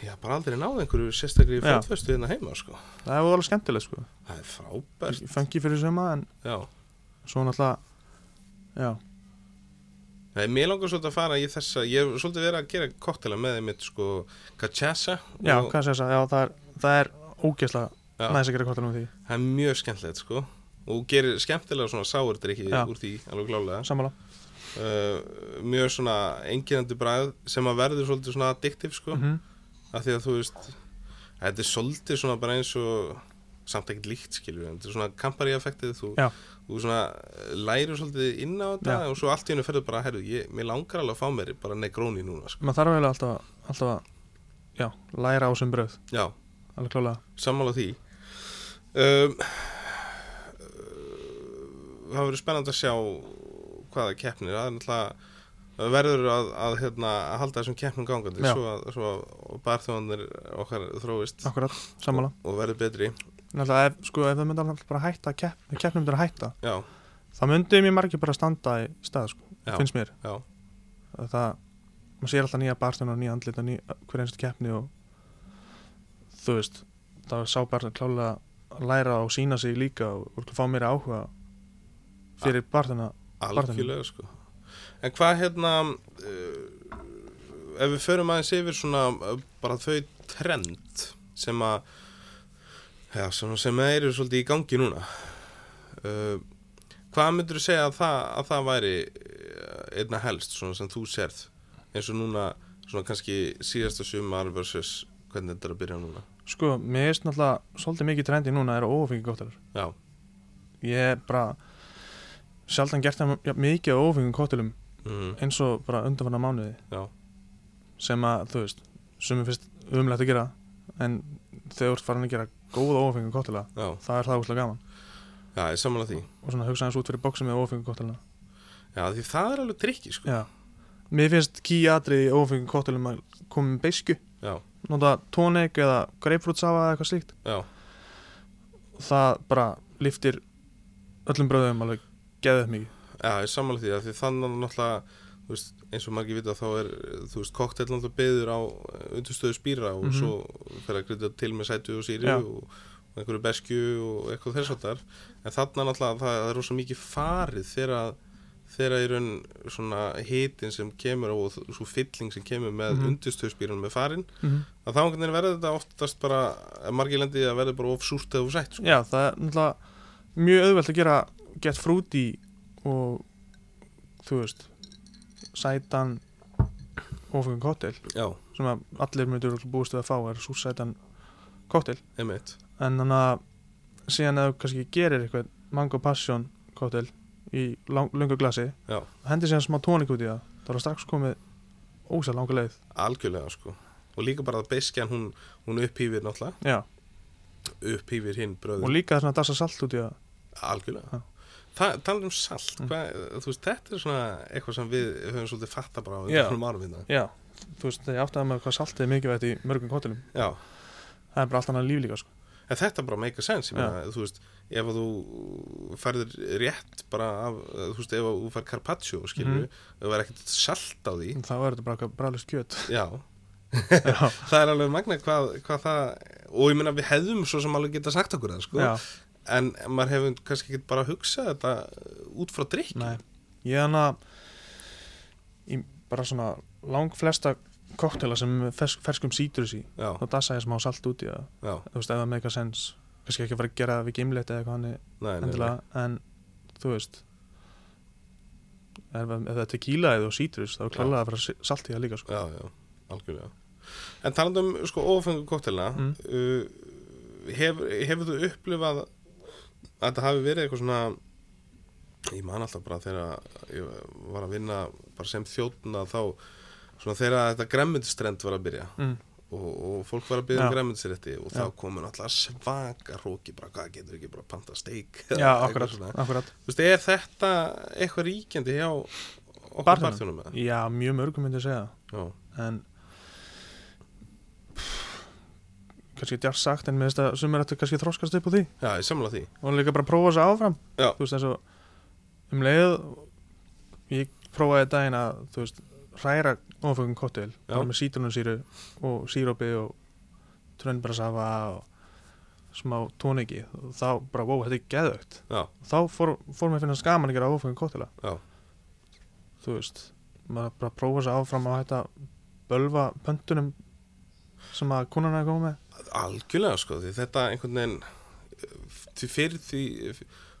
já, bara aldrei náð einhverju sérstaklega í Já. fjöldfestu hérna heima sko. það er alveg skemmtilegt sko Það er frábært fengi fyrir suma en Já, svo náttúrulega já, Nei, mér langar svolítið að fara í þessa ég hef svolítið verið að gera koktela með þeim mitt sko, kachasa já og- hvað sé þess að já, það er, það er Já. ógeðslega næs að gera kvartalum með því það er mjög skemmtilegt sko og gerir skemmtilega svona sáurdrykki Já. úr því alveg glálega sammála uh, mjög svona enginandi bræð sem að verður svolítið svona addiktiv sko, mm -hmm. af því að þú veist þetta er svolítið svona bara eins og samt ekkert líkt skilur við, en þetta er svona kampari-effektið, þú, Já. þú svona eh, lærir svolítið inn á þetta Já. og svo allt í hennu ferður bara, herru, ég, mér langar alveg að fá mér bara negróni núna, sko, maður þarf eiginlega alltaf, að- alltaf að já, læra á sem bröð já, alveg klálega sammála því um, uh, það verður spennandi að sjá hvaða keppnir það er náttúrulega það verður að, að, hérna, að halda þessum keppnum gangandi Já. svo að, svo að barþjóðanir okkar þróist akkurat, sammála og verður betri náttúrulega ef, sko, ef það myndi alltaf bara hætta að kepp, ef keppnum myndi að hætta já, það myndi mér margir bara standa í stað sko, Já. finnst mér já, Að það, maður sér alltaf nýja barstun og nýja andlit og nýja, hver einstu keppni og þú veist það sá barstun klálega að læra og sína sig líka og úrkla fá meira áhuga fyrir barstuna algjörlega sko en hvað hérna uh, ef við förum aðeins yfir svona uh, bara þau trend sem að já, sem, sem eru svolítið í gangi núna uh, hvað myndur þú segja að það, að það væri eh, einna helst svona sem þú sérð eins og núna svona kannski síðasta sumar versus hvernig þetta er að byrja núna Sko, mér erst náttúrulega svolítið mikið trendi núna er að ófengi kóttelur Já, Ég er bara sjaldan gert það jafn mikið á ófengum kóttelum mm, eins og bara undanfarnar mánuði já, sem að, þú veist, sumum finnst umlegt að gera en þegar þú ert farin að gera góða ófengum kóttela já, það er það úslega gaman já, ég samanlega því og svona hugsa hans út fyrir bóksum með ófengum kóttelina Já, því það er alveg trikki, sko Já, mér finnst ký atrið í ófengum kóttelum að koma með beisku Já, nota tónik eða greipfrútsafa eða eitthvað slíkt já, það bara liftir öllum bröðum alveg geðið mikið já, ég samanlega því að því þannig að náttúrulega þú veist, eins og margir vita þá er þú veist, koktel náttúrulega beður á undurstöðu spýra og Mhm. svo fer að grytta til með sætu og síri Já. og, og einhverju beskju og eitthvað þess að þar en þannig að náttúrulega það, það er rosa mikið farið þegar að þegar að í raun svona hitin sem kemur og þ- svo fylling sem kemur með mm Mhm. með farin að þá einhvern veginn verður þetta oftast bara að margir lendi að verður bara of súrt eða of sætt sko. Já, það er náttúrulega mjög auðvelt að gera get frúti og þú veist sætan ófengum kóttel Já, sem að allir myndur búist við að fá er súrsætan kóttel einmitt en þannig að síðan að þú kannski gerir eitthvað mango passion kóttel í lang, lungu glasi Já. og hendir síðan smá tónik út í það þá er það strax komið ósæl langa leið Algjörlega sko Og líka bara að beskjan hún, hún upphýfir náttúrulega Já. Upphýfir hinn og bröður líka þess að dasa salt út í það Algjörlega Já. Þa, Talum um salt Mm. hvað, Þú veist þetta er svona eitthvað sem við höfum svolítið fatta bara á Já. einhvernum árum hérna Já, þú veist, þegar ég áttaði með hvað saltið er mikilvægt í mörgum kóttelum Já það er bara allt annað líf líka sko. En þetta bara make a sense, ég meina, þú veist, ef að þú færðir rétt bara af, þú veist, ef að þú færð carpaccio, skilur við, ef Mhm. það er ekkert salt á því, þá er þetta bara eitthvað brálust *laughs* kjöt já, Já, það er alveg magna hvað, hvað það og ég meina við hefðum svo sem alveg geta sagt okkur það sko, já, en maður hefur kannski ekki bara hugsað þetta uh, út frá drikk nei Ég hann að í bara svona lang flesta koktela sem er með fersk, ferskum sítrus í já, þá dasa ég smá salt út í það já, þú veist, ef það með eitthvað sens kannski ekki að fara að gera það við gimlet eða eitthvað hann nei, nei, nei. endilega en þú veist ef, ef það er tequila eða sítrus þá er klálega að fara að si- salt í það líka sko. já, já, algjörlega en talandum um sko ofengu koktelina Mm. uh, hefur, hefur þú upplifað að þetta hafi verið eitthvað svona ég man alltaf bara þegar ég var að vinna bara sem þjóttuna þá svona þegar þetta gremmundstrend var að byrja mm. og, og fólk var að byggja um Já. græmitsrétti og þá Já. komur náttúrulega svaka róki bara hvað getur ekki bara panta steik Já, akkurat, akkurat Þú veist, er þetta eitthvað ríkjandi hjá okkur Barþjónum? barþjónum eða? Já, mjög mörgum myndi að segja það Já, en kannski djart sagt en mér finnst að sumir ættu kannski að þroskast upp á því já, ég samla því og líka bara prófa þess áfram Já. þú veist eins og um leið ég prófaði daginn að þú veist hræra ofengum kottil Já. bara með sítrunusýru og sírópi og trönnbrasafa og smá tóniki og þá bara, wow, þetta er geðögt Já, þá fór, fór mér að finna skaman að gera ofengum kottila Já. þú veist maður bara prófa þess áfram að hætta að bölva pöntunum sem að konuna er að koma með algjörlega sko því þetta einhvern veginn uh, því fyrr því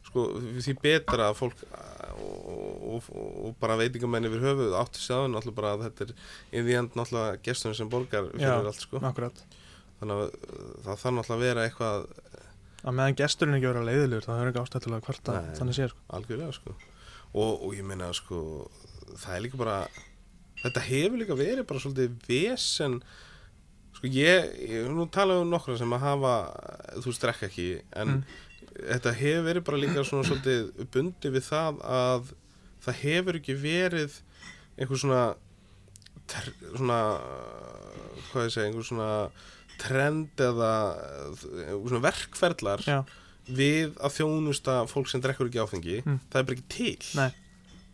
sko, því betra að fólk uh, og, og, og bara veitingamenn yfir höfuð átti sjáðun náttúrulega bara að þetta er í því end náttúrulega gestunum sem borgar fyrir Já. allt sko akkurat þannig að uh, það þarf náttúrulega að vera eitthvað að meðan gesturinn ekki verið að leiðilegur það er ekki ástættilega hvort að Nei. þannig sé sko. algjörlega sko og, og ég meina sko það er líka bara þetta hefur líka verið bara svolítið vesen sko ég, ég hef nú talaði um nokkra sem að hafa þú strekka ekki en Mm. þetta hefur verið bara líka svona svolítið bundið við það að það hefur ekki verið einhver svona tr, svona hvað ég segja, einhver svona trend eða eh, svona verkferðlar já, við að þjónusta fólk sem drekkur ekki áfengi Mm. það er bara ekki til Nei.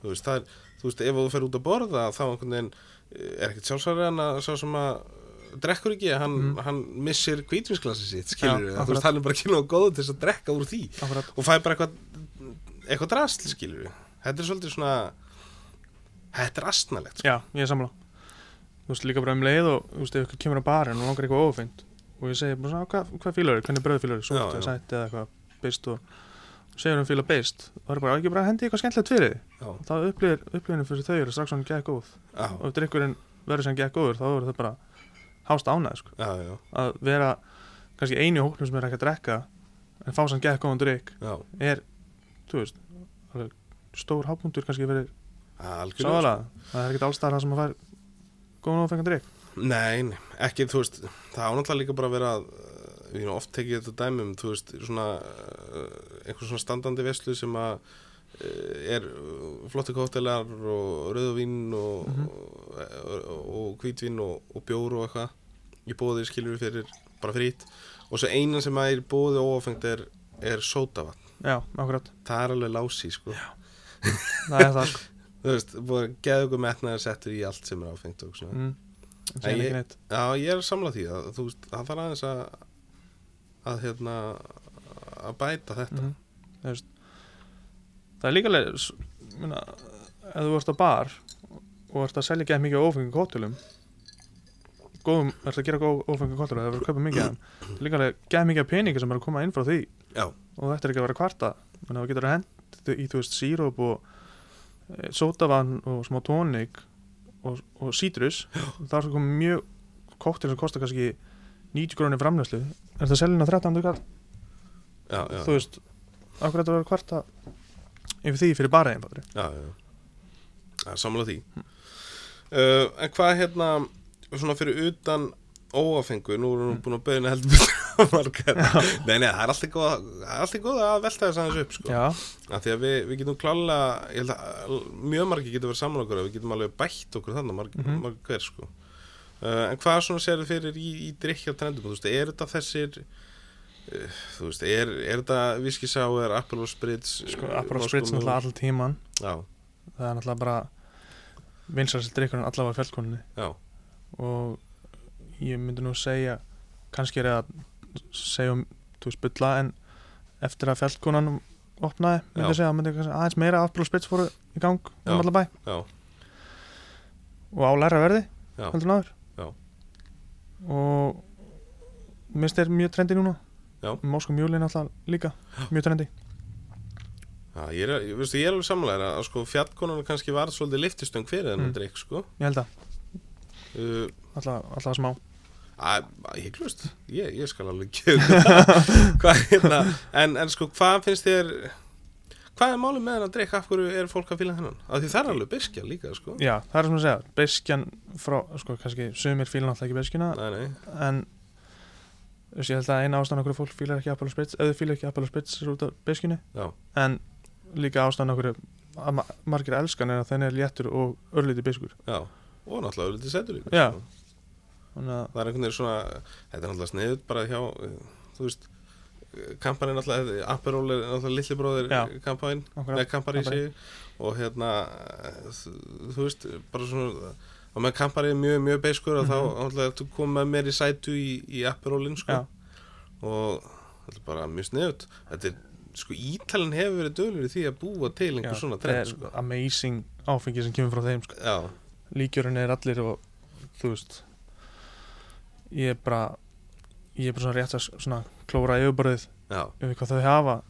þú veist, það er, þú veist, ef þú fer út að borða þá einhvern veginn eh, er ekkert sjálfsværi en að sá sem að drekkur ekki, hann, Mm. hann missir hvítvinsklasi sitt, skilur Já, við, þú akkurat. veist, hann er bara ekki nóg góð til þess að drekka úr því akkurat og fæ bara eitthvað eitthvað drasl, skilur við þetta er svolítið svona þetta er astnalegt, sko. já, ég er samla þú veist líka bara um leið og þú veist ef ykkur kemur á barinn og langar eitthvað ófengt og ég segi bara svona, "Á, hvað, hvað fílar þér, hvernig bröð fílar Já, þér súrt eða já. sætt eða eitthvað beist og og segir hún fíla beist og það er bara "Á, ekki bara að hendi eitthvað skemmtilegt fyrir þig já, og það upplýðir upplýðinu fyrir þau eru strax hann geð góð já, og drikkurinn verður sem gekk góður þá verður þau bara hást ánæð sko. já, já, að vera kannski einu í hóknum sem er ekki að drekka en fá sem gekk góðan drikk já, er, þú veist alveg stór hápundur kannski verið algjörlega sáðalega það er ekkert allstar það sem að fær góðan áfengan drikk Nei, nei, ekki, þú veist, það ánætla líka bara að vera, uh, ég hef oft tekið þetta dæmi um, þú veist, svona, uh, einhver svona standandi veslu sem að uh, er uh, flotti kóttelar og rauðvín og, Mhm. og, og, og hvítvín og, og bjór og eitthvað í bóði skilur við fyrir, bara frýtt og svo einan sem að er í bóði óafengt er, er sótavatn, já, akkurat, það er alveg lási, sko það er það sko. þú veist, búið geðu ykkur metnaðar settur í allt sem er áfengt og svona mm. Nei, ég- Ég, ég, Já, ég er samlað því að þú veist, það þarf aðeins að að hérna að bæta þetta mm -hmm. það er líka leið s- meina, ef þú ert á bar og ert að selja ekki mikið af ófengum kóttulum góðum, ert að gera góð ófengum kóttulum það er verið að kaupa mikið af þeim. það er líka leið gæð mikið af peningi sem er að koma inn frá því Já, og þetta er ekki að vera kvarta þannig að þú getur að henda í þú veist síróp og e, sótavann og smá tónik og, og sítrus það er svo komið mjög kóttil sem kostar kannski 90 grónir framlæslu er það seljinn á 13. kall já, já, þú veist, akkur þetta verður kvarta yfir því fyrir bara einn bátri já, já. Það er samlað því uh, En hvað hérna svona fyrir utan óafengu nú Mm. erum við búin að beina heldur betur margar Nei, nei, það er alltaf góð það er alltaf góð að velta þess aðeins upp sko. já, að því að við, við getum klálega ég held að mjög margir getur verið saman okkur að við getum alveg bætt okkur þannig margir, Mhm. margir hver sko uh, en hvað svona sér þið fyrir í, í drikkja trendum, þú veist, er þetta þessir uh, þú veist, er, er þetta viskisáður, Aperol Spritz eh, sko, apróf sprits náttúrulega all tíman já, það er náttúrulega bara vinsarsilt drikkurinn allavega fjöldkoninni já, og ég myndi nú segja kannski er ég að segja um, þú veist, bylla en eftir að fjöldkonan opnaði, myndi Já. ég segja, þá myndi ég kannski aðeins meira apróf sprits fóru í gang Já. um allavega bæ já, og á læra verði Já. heldur náður Já. og minnst er mjög trendi núna Já. Moskum Júlin alltaf líka mjög trendi já ég, er, ég, veist, ég er alveg samlega að sko fjallkonan kannski varð svolítið liftistöng fyrir þennan Mm. drikk sko ég held að uh, alltaf, alltaf smá Að, að ég glust, ég, ég skal alveg gefa hvað hérna en, en sko, hvað finnst þér hvað er málið með þennan drikk, af hverju er fólk að fíla þennan, af því það er alveg byrkja líka sko, já það er sem að segja beskjan frá sko kannski sumir fílar alltaf ekki beskjuna nei, nei, en þú veist, ég held að eina ástæðan okkur fólk fílar ekki Apollo Spritz eða fílar ekki Apollo Spritz er út af beskjunni Já. en líka ástæðan okkur að ma margir elskan er að þenni er léttur og örlítið beskur já og náttúrulega er litið setur líka Já. sko. þannig að það er einhvern veginn svona, þetta er náttúrulega sniðut bara hjá, eh, þú veist kampan er náttúrulega, eh, Aperol er náttúrulega litli bróðir Já. kampan okkur með kampari í Campari. sig og hérna þú, þú veist, bara svona og með kampari er mjög, mjög beiskur mm -hmm. Mhm. þá ætlaði að þú kom með mér í sætu í, í Aperolin sko. Já. og þetta er bara mjög sniðut þetta er, sko, Ítalin hefur verið dölur í því að búa til einhver svona trend sko. amazing áfengi sem kemur frá þeim sko. já, líkjörun er allir og þú veist ég er bara ég er bara svona rétt að s- svona klóra yfirborðið já, yfir hvað þau hafa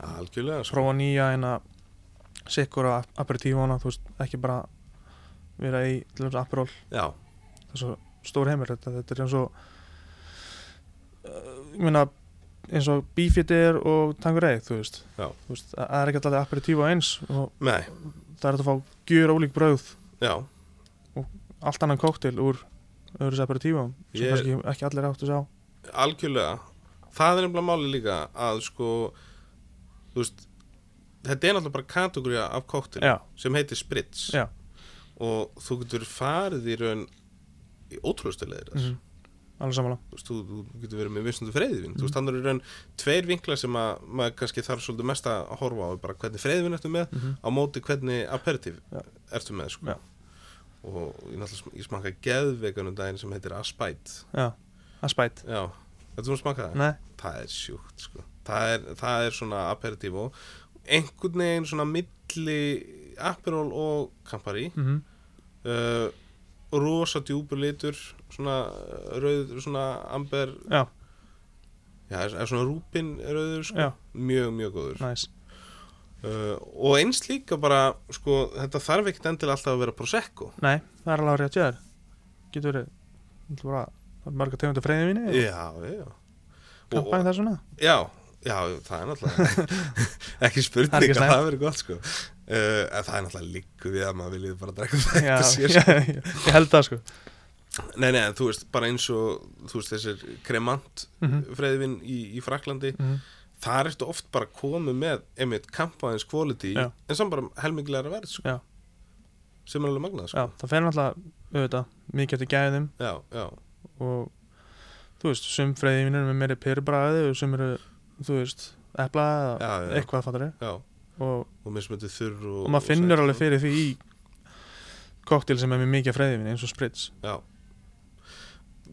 algjörlega sko. prófa nýja en að sikkur á aperitífana þú veist ekki bara vera í til þess aperol já, það er svo stór heimur þetta, þetta er eins og uh, ég meina eins og bífjöti er og tangur eig þú veist Já. þú veist það það er ekki alltaf aperitífa eins og nei, það er hægt að fá gjur ólík bröð já allt annan kóktil úr öðru separatífum sem Ég- kannski ekki allir áttu sá algjörlega það er nefnilega máli líka að sko þú veist þetta er náttúrulega bara kategóri af kóktel Já. sem heitir Spritz Já. og þú getur farið í raun í ótrúlustu leðir mm Mhm. alveg samanlá þú, veist, þú, þú getur verið með vinstundu freyðvin Mhm. þú veist, þannig er í raun tveir vinkla sem að maður kannski þarf svolítið mest að horfa á er bara hvernig freyðvin ertu með Mhm. á móti hvernig aperitif Já. ertu með sko. Já. og ég, náttúrulega sm- ég smakka geðveikanum daginn sem heitir Aspite já, að spæt já, þetta þú smakka það? nei, það er sjúkt sko. það, er, það er svona aperitívo einhvern veginn svona milli aperol og kampari mm uh, rosa djúpur litur svona uh, rauð, svona amber já, já, er er svona rúpin rauður sko. já, mjög, mjög góður næs uh, og eins líka bara sko, þetta þarf ekkert endilega alltaf að vera prosecco nei, það er alveg rétt ég þér getur verið náttúrulega bara, bara marga tegundar freyðin víni yeah. Já, já kampæn *laughs* þess vegna Já, já, það er *laughs* náttúrulega ekki spurning Það er ekki að slæmt. það verið gott sko uh, en það er náttúrulega líku við að maður viljið bara drekka það *laughs* Já, eitt sér já, sko. já, ég held það sko Nei, nei, en þú veist, bara eins og þú veist, þessir kremant mm -hmm. freyðvin í, í Fraklandi þar ertu oft bara komið með einmitt kampaðins quality Já. en samt bara helminglegar verð sko Já. sem er alveg magnað Já, sko það fer náttúrulega auðvitað, mikið eftir gæðum Já, já, og þú veist, sum freyðin víni með meiri pyrrbræði og sum eru, þú veist, epla eða Já, já. eitthvað fattar já og, og mismöndu þurr og, og maður finnur sæt, alveg sko. fyrir því í koktel sem er með mikið freyðin víni eins og spritz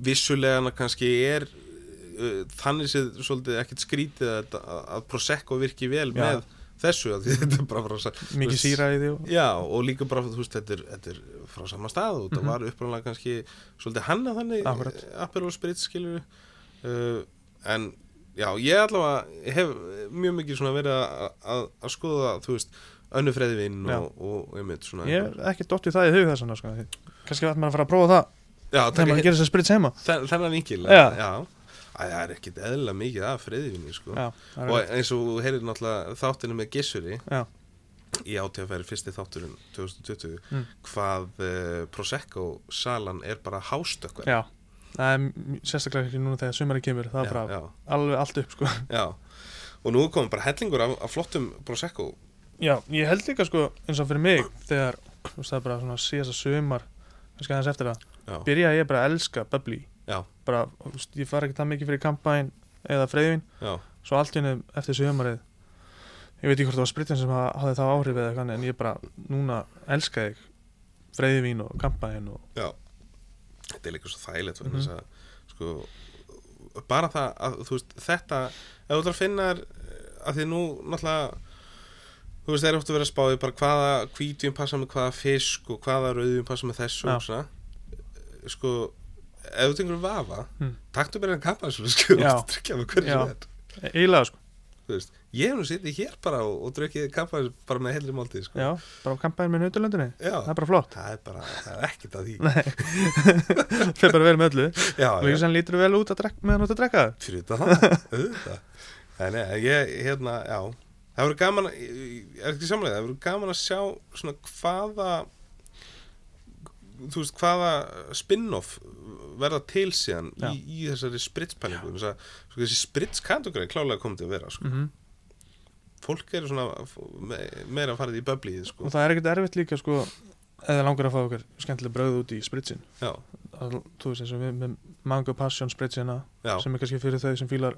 vissulega hana kannski er uh, þannig séð svolítið ekkert skrítið að, þetta- að, að Prosecco virki vel Já. með þessu að því *laughs* þetta er bara frá sa- Þú mikið veist- síra í því og, já og líka bara þú veist þetta er, þetta er frá sama stað og þetta Mhm. var uppræðanlega kannski svolítið hanna þannig Akkúrat. eh, Aperol Spritz skilur uh, en já ég allavega hef mjög mikið svona verið að, að, að skoða þú veist önnu freðvinn Já. og, og einmitt svona ég er ekki dott í það í hug þess vegna sko. kannski ætti maður að fara að prófa það já, þegar maður gerir þess að spritz heima Þen- þennan vinkil Já. Æ, það er ekkit eðla mikið af friðvinni sko. já, það er og eins og þú heyrir náttúrulega þáttinu með Gissuri Já. í átíðafæri fyrsti þátturinn 2020 Mm. hvað uh, Prosecco salan er bara hástökkver Já, það er m- sérstaklega ekki núna þegar sumari kemur, það er bara já, alveg allt upp sko. *laughs* já. og nú kom bara hellingur af, af flottum Prosecco Já, ég held líka sko eins og fyrir mig þegar, þú veist það er bara svona síðasta sumar, kannski aðeins eftir það já, byrja ég bara að elska bubbly Já. bara, þú veist, ég fara ekki það mikið fyrir kampæn eða freyðin, já, svo allt í hennu eftir sumarið ég veit ekki hvort það var spritin sem ha- hafði þá áhrif eða eitthvað en ég bara núna elska þig freyðvín og kampæn og já þetta er líka svo þægilegt mm Mhm. -hmm. sko, bara það að þú veist þetta, ef þú ætlar að finna þér, eh, að því nú náttúrulega þú veist, þeir eru oft að vera að spá í bara hvaða hvítjum passa með hvaða fisk og hvaða rauðjum passa með þessu og Já. svona sko, ef þú tengur vafa Mm. taktu bara enn kappa þessu sko, Já. og tryggja með hverju Já. sem er eiginlega sko, þú veist, ég hef nú sittið hér bara og, og drukkið kappa bara með heilri máltíð sko. já, bara kampæn með nautilöndinni, Já. það er bara flott *laughs* það er bara, það er ekkert að því Nei, *laughs* fyrir bara vel með öllu já, og ekki sem lítur vel út að drekka, meðan þú ert að drekka það fyrir þetta *laughs* það auðvitað. Nei, nei, ég, hérna, já það verður gaman, að- ég er ekki samlega það verður gaman að sjá svona hvaða þú veist, hvaða spin-off verða til síðan Já. í, í þessari spritspælingu þess að, sko, þessi spritskatugræði klálega komið til að vera sko. mm fólk eru svona f- me- meira að fara í böblið sko. og það er ekkert erfitt líka sko eða langar að fá okkur skemmtileg bröð út í spritsin já, Að- þú veist eins og við með mango passion spritsina já, sem er kannski fyrir þau sem fílar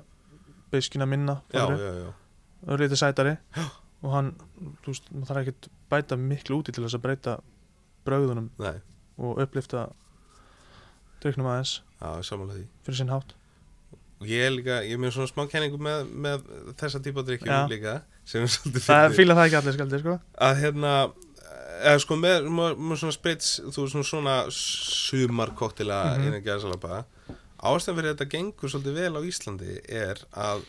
beiskina minna já, já, já. örlítið sætari og hann, þú veist, maður þarf ekkert bæta miklu úti til þess að breyta bröðunum Nei, og upplifta dryknum aðeins já, samanlega því fyrir sinn hátt og ég er líka, ég er mér svona smá kenningu með, með þessa típa Já. drikkjum líka sem er svolítið það fyndið. fíla það ekki allir skaldir sko að hérna eða sko með, með, með svona sprits þú veist svona svona sumarkoktila mm Mhm. -hmm. innan gæðsalapa ástæðan fyrir þetta gengur svolítið vel á Íslandi er að,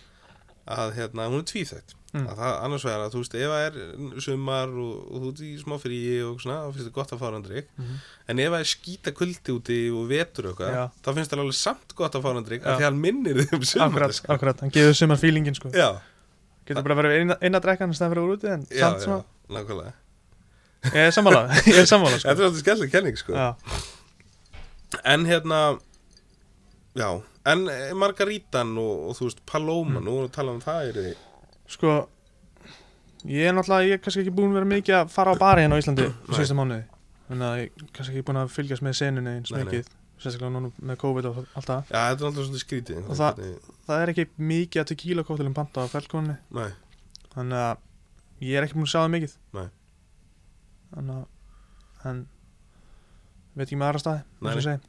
að hérna, hún er tvíþægt Mm. að það annars vegar að þú veist ef það er sumar og, og þú ert í smá fríi og svona, þá finnst þetta gott að fara andrik mm Mhm. en ef það er skýta kuldi úti og vetur og Já. eitthvað, þá finnst það alveg samt gott að fara andrik Já. af því að hann minnir þig um sumar akkurat, akkurat, hann gefur sumar feelingin sko já, Getur bara verið inn, inn að drekka hann stæðan fyrir úr úti en já, samt já, svona, nákvæmlega ég er sammála, *laughs* ég er sammála sko. þetta er alltaf skellileg kenning sko Já, En hérna Já, en eh, Margarítan og, og þú veist Paloma, Mm. nú erum við að tala um það er þið sko, ég er náttúrulega, ég er kannski ekki búin að vera mikið að fara á bari hérna á Íslandi síðasta mánuði Þannig að ég er kannski ekki búin að fylgjast með senunni eins Nei, nei. mikið Sérstaklega núna með COVID og allt það Já, þetta er alltaf svona skrítið Og það- hvernig- Það er ekki mikið að tequila kóttilum panta á felkónni Nei, Þannig að ég er ekki búin að sjá það mikið Nei. Þannig að, en, veit ekki með aðra staði, eins og Nei, ég *laughs* segi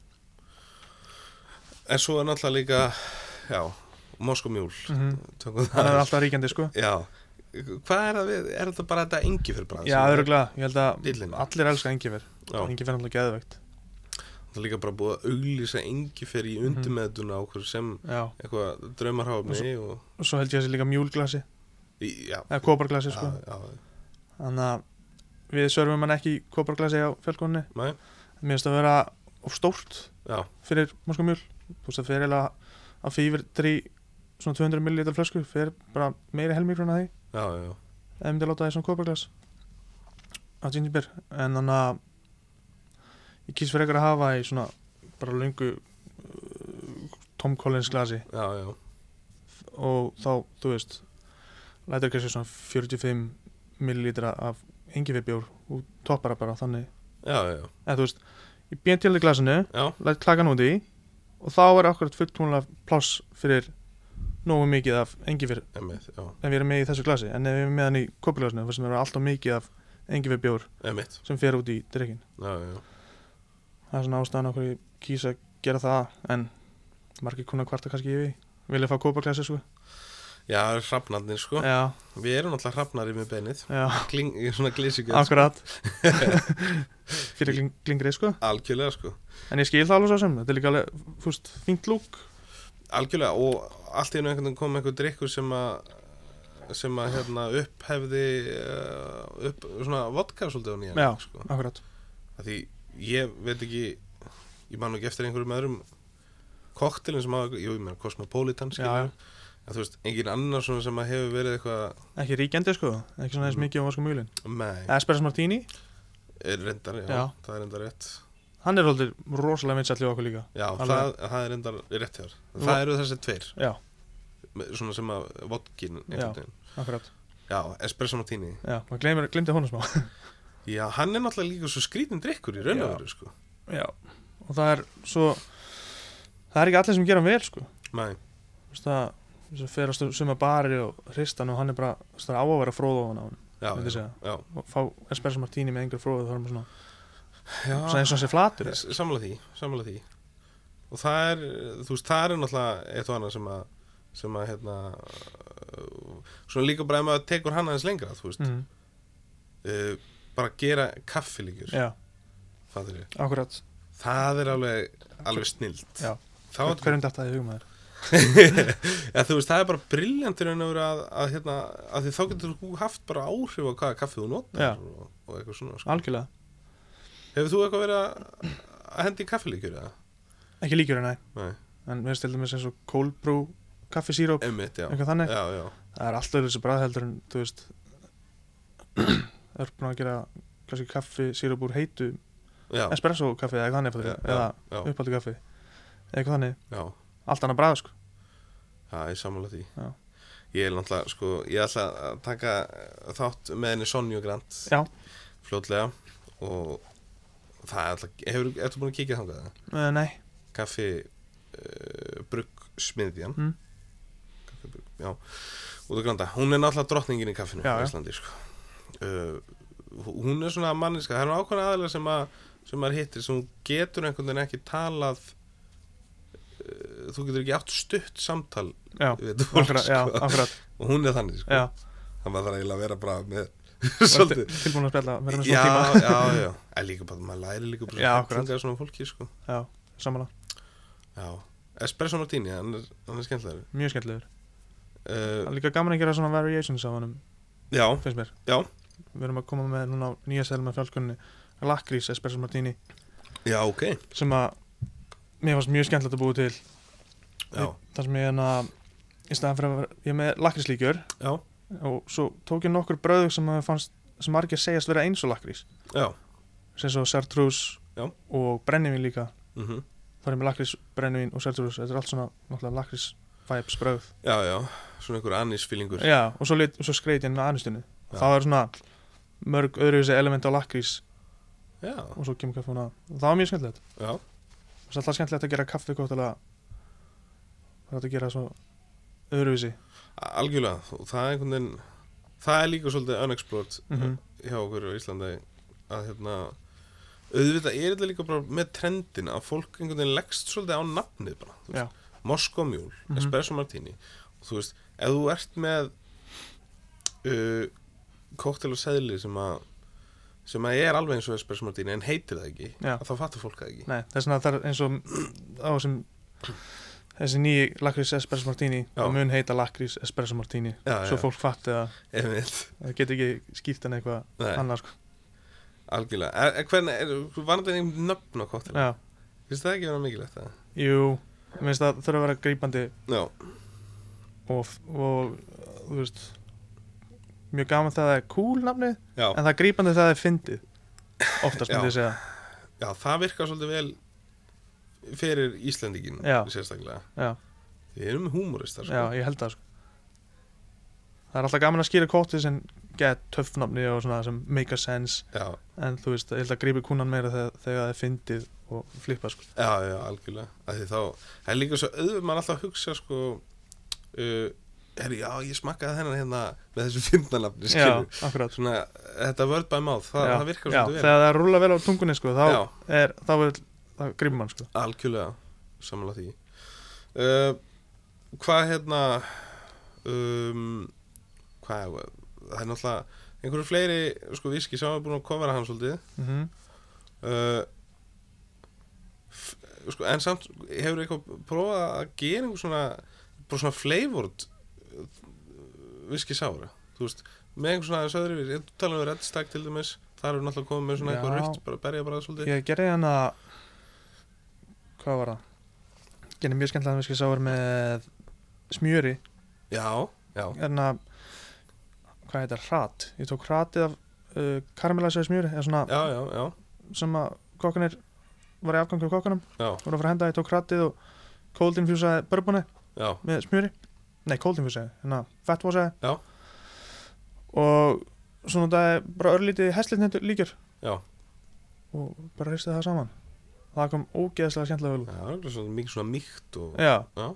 en svo er náttúrulega líka Já, Moskómjúl Mhm. Tökum Þannig að það það er alltaf ríkjandi sko Já, hvað er það við Er þetta bara þetta engi fyrir brans? Já, öruglega, ég held að Dillinn. allir elska Engifer Já, Engifer er alltaf geðveikt það er líka bara búið að auglýsa engi fyrir í undirmeðduna á okkur sem Já, eitthvað draumarháfni og og Mhm. svo held ég að sé líka mjúlglasi í- Já, eða kóparglasi sko já, já, þannig að við sörfum hann ekki í kóparglasi á fjölkunni Nei. mér finnst að vera of stórt já, fyrir moskamjöl þú veist það fer eiginlega að fýfir trí svona 200 ml flösku fer bara meiri helmingur en að því já, já, já. ef myndi láta það í svona kópaglas að gingirbér en þannig að ég kýst fyrir að hafa í svona bara lungu uh, Tom Collins glasi já, já. og þá, þú veist lætur ekki svona 45 millilítra af engifibjór og toppara bara þannig Já, já, eða þú veist, ég bjent til í glasinu já, læt klakan út í og þá er akkurat fulltúnlega pláss fyrir nógu mikið af engifir emitt, já, ef ég er með í þessu glasi, en ef ég er með hann í kopilasinu þar sem er alltaf mikið af engifibjór emitt, sem fer út í drikkin já, já, það er svona ástæðan okkur ég kýsa að gera það en margir kuna kvarta kannski yfir því. vilja fá kopaglasi sko já, það er hrafnarnir sko, já, við erum alltaf hrafnari með beinið, já kling, í svona glísugjöld, *laughs* *laughs* Akkurat Fyrir kling, klingrið sko algjörlega sko, En ég skil það alveg svo sem Þetta er líka alveg fúst, fínt lúk algjörlega og allt í einu einhvern veginn kom einhver drikkur sem að sem að hérna upphefði uh, upp, svona vodka svolítið á nýjan Já. sko. Akkurat að því ég veit ekki ég man nú ekki eftir einhverjum öðrum koktelin sem hafa, jú, ég meina Cosmopolitan skilur, Já, en þú veist, engin annar svona sem að hefur verið eitthvað Ekki ríkjandi sko Ekki svona eins Mm. mikið á vaskum mjölin með, Espresso Martini er reyndar, já, Já. það er reyndar rétt Hann er holdið rosalega vinsall í okkur líka já, Alveg. það, það er reyndar rétt hjá þér. Vo- það eru þessi tveir, Já, með- svona sem að vodkin, Já. einhvern veginn, akkurat já, espresso martini Já, maður gleymir, glemdi honum smá *laughs* já, hann er náttúrulega líka svo skrítin drikkur í raun og Já. veru, sko Já Og það er svo Það er ekki allir sem gera hann vel sko með, Þú veist það sem fer að suma bari og hristan og hann er bara þú veist, það er á að vera fróð ofan á hann já, Myndi já, segja. já, og fá espresso martini með engur fróð þá er maður svona, svona já. eins og hann sé flatur S- sammála því, sammála því og það er, þú veist, það er náttúrulega eitt og annað sem að sem að, hérna uh, svona líka bara ef maður tekur hann aðeins lengra þú veist, mm. uh, bara gera kaffilíkjur, Já, fattur ég akkurat það er alveg, alveg snilt Já. þá er Hverjum datt það í hugum þær? ja, þú veist, það er bara briljantur en að, að, að, hérna, að því þá getur þú haft bara áhrif á hvaða kaffi þú Já. notar og, og eitthvað svona sko. Algjörlega hefur þú eitthvað verið að, að hendi í kaffilíkjur eða? Ekki líkjur en næ Nei, En við stildum þess eins og cold brew, kaffisíróp, einmitt, já eitthvað þannig já, já, Það er alltaf þessi bræðheldur en þú veist *clears throat* Það er búin að gera kannski kaffisíróp úr heitu já, Espresso kaffi eða eitthvað þannig já, fyrir, já, Eða já, upphaldi kaffi Eitthvað þannig já. Allt annað bræð sko Já, ég sammála því Já. Ég er náttúrulega, sko, ég ætla að taka þátt með henni Sonju Grant Já. Fljótlega og það er alltaf, hefur, ertu búin að kíkja þangað það? uh, Nei Kaffi uh, Brugg Smiðjan Mm. Kaffi Brugg, já Út af Granda, hún er náttúrulega drottningin í kaffinu Já, í já. Íslandi, sko uh, Hún er svona manniska, það er ákveðna aðalega sem að sem maður hittir, sem hún getur einhvern veginn ekki talað uh, þú getur ekki átt stutt samtal *laughs* Já, við þetta fólk akkurat, já, sko. akkurat og hún er þannig *laughs* sko. Já, þannig að það er eiginlega að vera bara með og svolítið til- tilbúin að spjalla vera með já, svona tíma. já, já, en líka bara maður læri líka bara Já, svona akkurat. hellingar af svona fólki sko. Já, samanlega, já, espresso martini, hann er, hann er skemmtilegur mjög skemmtilegur Það uh, er líka gaman að gera svona variations á honum já, finnst mér Já. Við erum að koma með núna á nýja seðlum með fjálkunni Lakrís Espresso Martini já, ok já, sem að mér fannst mjög skemmtilegt að búa til já, þar sem ég hérna í staðan fyrir að vera, ég er með lakríslíkjör já, og svo tók ég nokkur bröðug sem að mér fannst sem margir segjast vera eins og lakrís já sem svo sartrús Já. og brennivín líka mm þá er ég með lakrís, brennivín og sartrús þetta er allt svona náttúrulega lakrís vibes bröð já, já, svona einhver annisfílingur Já, og svo, lit, og svo skreit ég inn með anustunni Já. þá er svona mörg öðruvísi element á lakrís já, og svo kemur kaffuna það var mjög skemmtilegt já, Það er alltaf skemmtilegt að gera kaffi gott alveg Það er hægt að gera svo öðruvísi algjörlega og það er einhvern veginn það er líka svolítið unexplored Mhm. hjá okkur á Íslandi að hérna auðvitað er þetta líka bara með trendin að fólk einhvern veginn leggst svolítið á nafnið bara, þú Já. veist, Moskomjúl Mhm. Espresso Martini og þú veist, ef þú ert með uh, koktel og seðli sem að sem að er alveg eins og Espresso Martini en heitir það ekki, Já. að þá fattar fólk það ekki Nei, þess vegna það er eins og á sem þessi nýji lakrís espresso martini Já. það mun heita lakrís espresso martini Já, svo já. fólk fatti að Einmitt. það geti ekki skýrt en eitthvað Nei, annars sko. algjörlega, er, er, hvernig er, var þetta einhvern nöfn á koktel? Já, finnst það ekki vera mikilvægt það? Jú, mér finnst það þurfa að vera grípandi Já, og, og þú veist mjög gaman þegar það er cool nafnið já, en það er grípandi þegar það er fyndið oftast myndi ég segja já, það virkar svolítið vel fyrir Íslandingin Já. sérstaklega Já. Við erum húmoristar sko. Já, ég held það sko Það er alltaf gaman að skýra kótið sem get töffnafni og svona sem make a sense já, en þú veist, ég held að grípi kúnan meira þegar, þegar það er fyndið og flippa sko já, já, algjörlega Af því þá, það er líka svo auðvitað maður alltaf að hugsa sko uh, herri, já, ég smakkaði þennan hérna með þessu fyrndanafni Já, skilur akkurát Svona, þetta word by mouth, það, já, það virkar já, svolítið vel Þegar það rúla vel á tungunni sko þá, Já. er, þá, vil, þá grípir mann sko Algjörlega, samanlega því uh, Hvað hérna um, Hvað er Það er náttúrulega einhverju fleiri sko viski sem er búin að kofara hann svolítið mm uh, f- sko, En samt hefur eitthvað prófað að gera einhver svona bara svona flavored uh, viski sára þú veist, með einhver svona aðeins öðru ég tala um reddstag til dæmis þar eru náttúrulega komið með svona eitthvað Já. rutt bara berja bara svolítið Ég gerði hann að hvað var það? Gerði mjög skemmtilega að við sáur með smjöri Já, já, hérna hvað heitir, hrat, ég tók hratið af uh, karamellæsaði smjöri eða svona já, já, já. sem að kokkanir var í afgangu á kokkanum Já. voru að fara að henda, ég tók hratið og cold infusaði bourboni Já, með smjöri nei, cold infusaði, hérna fettvasaði Já. og svona það er bara örlítið hæslitnendur líkjur Já. og bara reistið það saman það kom ógeðslega skemmtilega vel Já, það er örugglega svona mikið svona mýkt og, út já,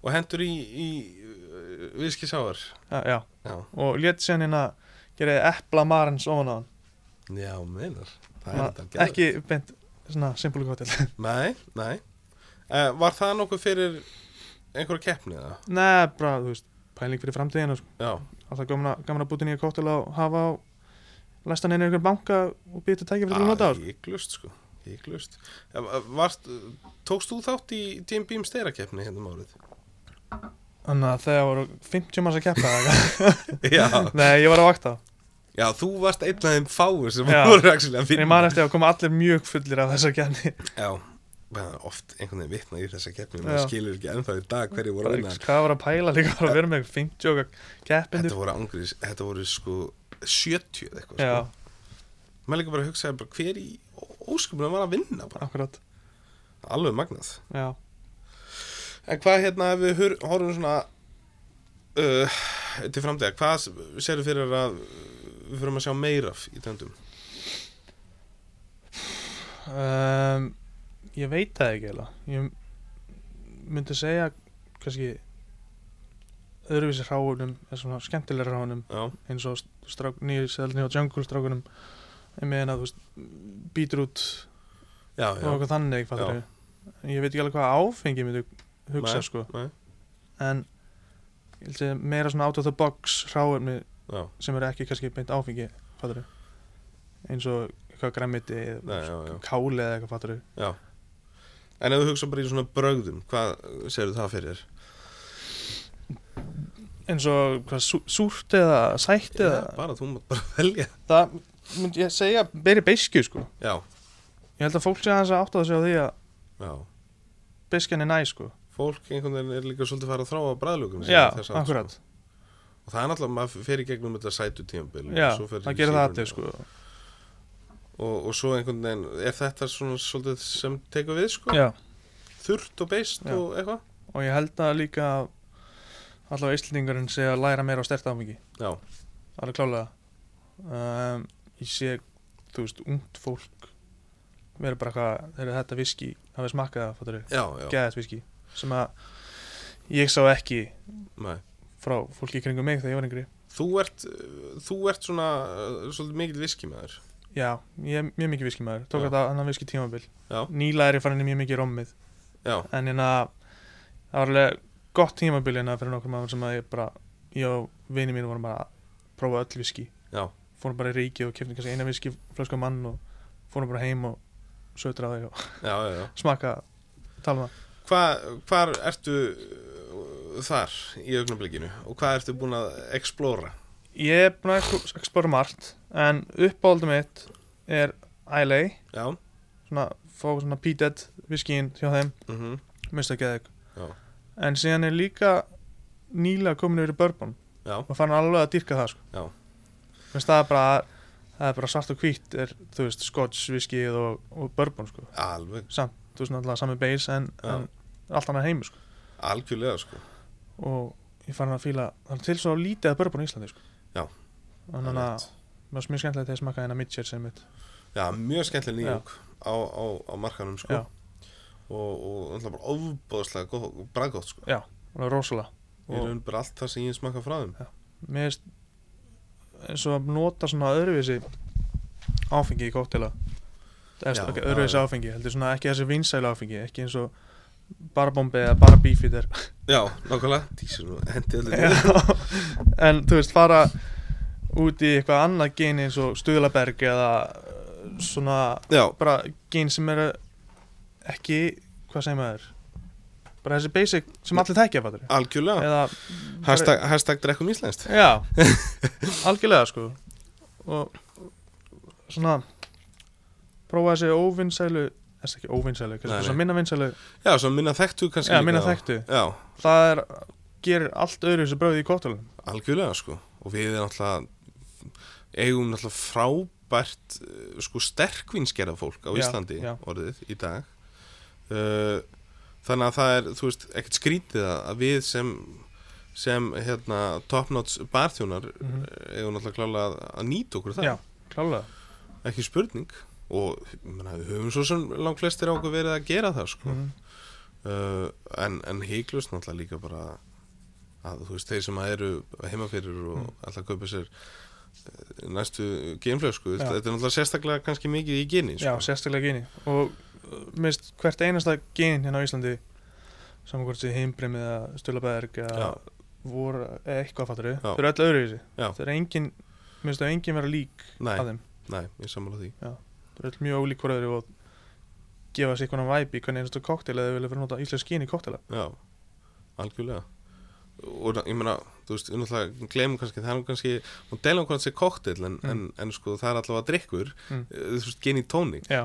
og hendur í, í uh, viskisáar. já, já, Já, og létt síðan hérna gerði epla marins ofan á hann já, meinar. Það er Svona þetta alveg. ekki beint svona simpul kótel Nei, nei. Uh, var það nokkuð fyrir einhverja keppni eða? *laughs* Nei, bara, þú veist, pæling fyrir framtíðina sko. Já, Alltaf gaman að, gaman að búti nýja kóttil að hafa á læstan einu ykkur banka og býta tækja fyrir að nota á sko. ég glust sko, ég glust. Varst, tókst þú þátt í Jim Beam steirakeppni hérna um *laughs* árið? Þannig að þegar voru 50 manns að keppa eða eitthvað. já, *laughs* Nei, ég var á vakta já, þú varst einn af þeim fáur sem Já. voru actually að En vinna. ég man eftir að koma allir mjög fullir af þessar kefni Já, bara oft einhvern veginn vitna í þessa keppni, Já. maður skilur ekki ennþá í dag hverju voru að vinna. Hvað var að pæla líka bara að vera með 50 og keppindur Þetta voru ángriðis, þetta voru sko 70 eða eitthvað Já, sko. Maður líka bara að hugsa bara hver í ósköpunum var að vinna bara. akkurat Alveg magnað. Já, En hvað hérna ef við hör, horfum svona uh, til framtíða, hvað serðu fyrir að við fyrir að sjá meira af í töndum? um, ég veit það ekki eða Ég myndi segja kannski öðruvísi hráunum eða svona skemmtilega hráunum Já, eins og strák, nýju selni og jungle strákunum ég meina þú veist bítrút já, og já. eitthvað þannig fattar Já. við ég veit ekki alveg hvað áfengi myndi hugsa Nei, sko nei. en ég held að meira svona out of the box hráefni Já, sem eru ekki kannski beint áfengi fattar við eins og eitthvað græmiti Nei, já, já. káli eða eitthvað fattar við já. En ef við hugsa bara í svona brögðum, hvað serðu það fyrir? eins og hvað sú, súrt eða sætt Já, eða bara þú mátt bara velja. það myndi ég segja beri beiskju sko Já, ég held að fólk sé aðeins að átta sig á því að já. beiskjan er næ sko Fólk einhvern veginn er líka svolítið farið að þróa bræðlökum. já, akkurat sko. Og það er náttúrulega, maður fer í gegnum þetta sætu tímabil og Já, svo fer það í gerir sýruna. það allir sko og, og svo einhvern veginn, er þetta svona svolítið sem tekur við sko? Já, Þurrt og beist Já. og eitthvað? og ég held að líka allavega Íslendingurinn sé að læra meira á stert áfengi Já, alveg klálega um, ég sé, þú veist, ungt fólk vera bara hvað þeir eru þetta viski, hafið smakkað það fattur já, já, geðað viski sem að ég sá ekki næ frá fólki í kringum mig þegar ég var yngri Þú ert, uh, þú ert svona uh, svolítið mikil viski með þér Já, ég er mjög mikið viski maður tók Já. þetta annan viski tímabil Já. nýla er ég farin í mjög mikið rommið Já, en hérna það var alveg gott tímabil hérna fyrir nokkur maður sem að ég bara ég og vini mín vorum bara að prófa öll viski Já. fórum bara í ríki og keftum kannski eina viski flösku af mann og fórum bara heim og sötra þau og *laughs* já, já, já smaka tala um það Hva, Hvar ertu uh, þar í augnablikinu og hvað ertu búin að explora? ég er búin að explora margt en uppáldum mitt er ILA Já, svona fá svona P-Dead viskiðin hjá þeim, mm -hmm. mista ekki aðeik Já. en síðan er líka nýlega komin yfir í bourbon Já, og fann alveg að dýrka það Já. sko. Finnst það, er bara, það er bara svart og hvítt er, þú veist, scotch, viskið og, og bourbon sko. alveg, samt, þú veist, náttúrulega sami base en, Já. en allt annað heimi sko. algjörlega sko og ég fann að fíla það er til svo lítið að bourbon í Íslandi sko. Já. þannig Það er að rétt. mér finnst mjög skemmtilegt að ég smaka hérna Mitchell sem mitt Já, mjög skemmtileg nýjung á, á, á markanum sko Já. og, og alltaf bara ofbóðslega gott, braggótt sko alveg rosalega Ég Og- raun bara allt það sem ég smakka frá þeim mér finnst eins og að nota svona öðruvísi áfengi í kóktela Já, okay, já, öðruvísi já. áfengi, heldur svona ekki þessi vinsælu áfengi ekki eins og bara bombi eða bara bífið *laughs* er Já, nákvæmlega, dísir nú, hendi öllu niður. en þú veist fara út í eitthvað annað gen eins og stuðlaberg eða uh, svona Já, bara gen sem eru ekki, hvað segir maður bara þessi basic sem allir tekja fattur algjörlega eða Hashtag, hashtag drekkum íslenskt Já, *laughs* algjörlega sko og svona prófa þessi óvinnsælu þessi ekki óvinnsælu, Nei, nei. kannski svona minna vinnsælu Já, svo minna þekktu kannski Já, líka minna á- þekktu Já, það er, gerir allt öðru þessu bröði í kóttalum algjörlega sko og við erum náttúrulega eigum náttúrulega frábært eh, sko sterkvinskerða fólk á Já, Íslandi já. orðið í dag uh, þannig að það er þú veist, ekkert skrítið að að við sem sem hérna topnots barþjónar eh, Mhm. eigum náttúrulega klálega að- að nýta okkur það Já, klálega ekki spurning og ég meina, við höfum svo sem langt flestir á okkur verið að gera það sko Mhm. uh, en, en heiklust náttúrulega líka bara að þú veist þeir sem að eru heimafyrir og Mm. alltaf kaupa sér eh, næstu genflösku Já. þetta er náttúrulega sérstaklega kannski mikið í geni Já, sko. sérstaklega geni og uh, mist hvert einasta gen hérna á Íslandi saman hvort þessi heimbrim eða stuðlaberg eða Já. voru eða eitthvað fattur Já. þau eru öll öðru þessu Já. það er engin, minnst það engin vera lík nei, að þeim nei, ég sammála því Það er öll mjög ólík hvort öðru og gefa sér einhvern væp í hvernig einstu koktel eða þau vilja fyrir nota íslensk skín í koktela já, algjörlega og na- ég meina, þú veist, við náttúrulega glemum kannski, það er nú kannski, hún um deilum hvernig sér koktel en, Mm. en, en sko það er allavega drikkur, Mm. eh, þú veist, geni tónik Já,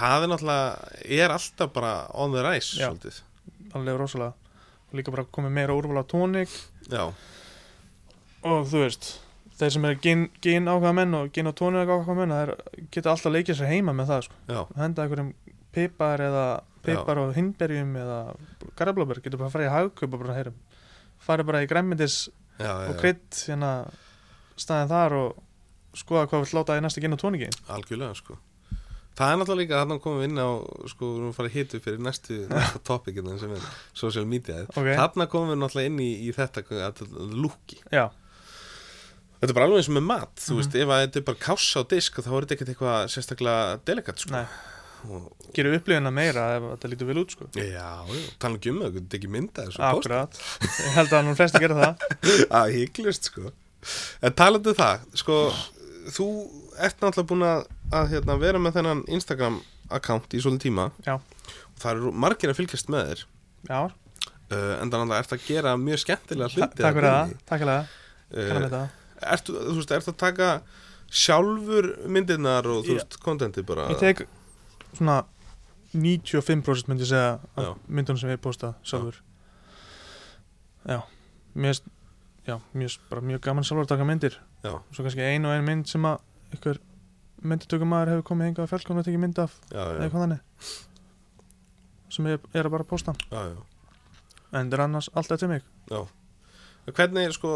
það er náttúrulega, er alltaf bara on the rise, Já. svolítið alveg rosalega og líka bara komið meira úrval á tónik já, og þú veist þeir sem eru gin, gin ákvaða menn og gin og tónik ákvaða menn það er, geta alltaf leikið sér heima með það sko. já, henda einhverjum pipar eða pipar og hindberjum eða garðblóber getur bara að fara í hagkaup og bara heyrum farið bara í græmmitis já, já, og já. krydd hérna staðin þar og skoða hvað við láta í næsta gin og tóniki Algjörlega sko Það er náttúrulega líka að hann komum við inn á sko, við erum að fara að hitu fyrir *laughs* næstu, næstu topikina sem er social media Ok. Þarna komum við náttúrulega inn í, í þetta að- að lúki Já, Þetta er bara alveg eins og með mat, þú Mhm. veist ef að þetta er bara kássa á disk þá er þetta ekkert eitthvað sérstaklega delikat sko Nei. og, gerir upplifina meira ef þetta lítur vel út sko Já, já, tala ekki um það, þetta er ekki mynda þessu post Akkurat, ég held að nú flesti gera það að hygglust sko en talandi um það sko, þú ert náttúrulega búin að, að hérna, vera með þennan Instagram account í svolítið tíma Já. og það eru margir að fylgjast með þér Já, uh, en þannig að ert að gera mjög skemmtilega ta- hluti takk fyrir það, takk fyrir það, það kannan við það ertu, þú veist, ertu að taka sjálfur myndirnar og þú Já. veist, kontenti bara Ég tek svona 95% myndi ég segja Já. af myndunum sem ég posta sjálfur Já, mér finnst- já, mér finnst bara mjög gaman sjálfur að taka myndir Já. Svo kannski ein og ein mynd sem að ykkur myndutökumæður hefur komið hingað að fjallkona að tekið mynd af já, eða já, eitthvað þannig sem ég er að bara posta já, já. en þetta er annars alltaf til mig Hvernig, sko,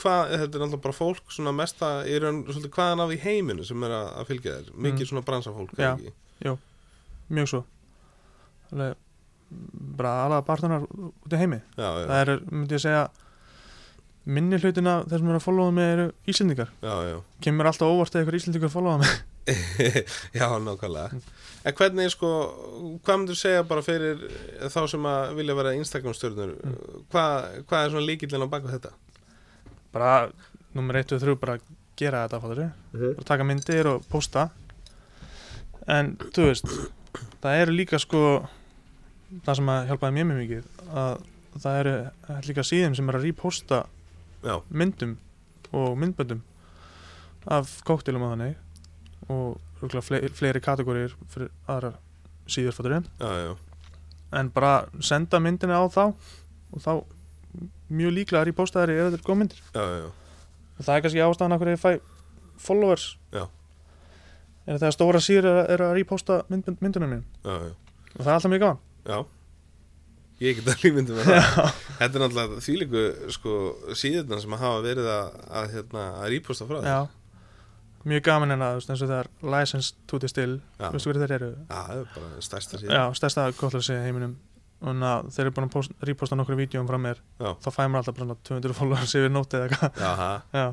hvað, eh, þetta er náttúrulega bara fólk svona mesta, er hann svolítið hvaðan af í heiminu sem er að, að fylgja þér, mikið Mm. svona bransafólk, er Já. ekki? mjög svo alveg mm, bara alveg barðunar út í heimi Já, já, það eru, myndi ég segja minni hlutina þeir sem eru að followa mig eru Íslendingar já, já. *laughs* kemur alltaf óvart eða ykkur Íslendingar að followa mig já, nákvæmlega En hvernig, sko, hvað myndur segja bara fyrir eh, þá sem að vilja vera Instagram stjörnur, Mm. hvað, hvað er svona líkillin á baku þetta? bara nummer 1 og 3 bara gera þetta fattur bara taka myndir og posta en þú veist það eru líka sko það sem að hjálpaði mér mjög mikið að það eru líka síðum sem eru að reposta Já, myndum og myndböndum af kóktelum á þannig og örugglega fle fleiri kategóriur fyrir aðra síðurfótturinn já, já, en bara senda myndina á þá og þá mjög líklega er ég postaðari ef þetta er góð myndir já, já, og það er kannski ástæðan af hverju ég fæ followers Já. er að þegar stóra síður er, er að reposta mynd, mynd, myndunum mín já, já, og það er alltaf mjög gaman já. Ég get allir myndið með það Þetta er náttúrulega þvílíku sko, síðurna sem að hafa verið að, að, hérna, að rýposta frá þér. Já. mjög gaman en að þú veist, eins og það er license to the still, Já, veistu hverju þeir eru Já, það er bara stærsta síðan já, stærsta kottlösi heiminum og na, þeir eru búin að post- reposta nokkru vídjum frá mér Já. þá fæ maður alltaf bara svona 200 followers yfir nóti eða eitthvað Já, ha, Já.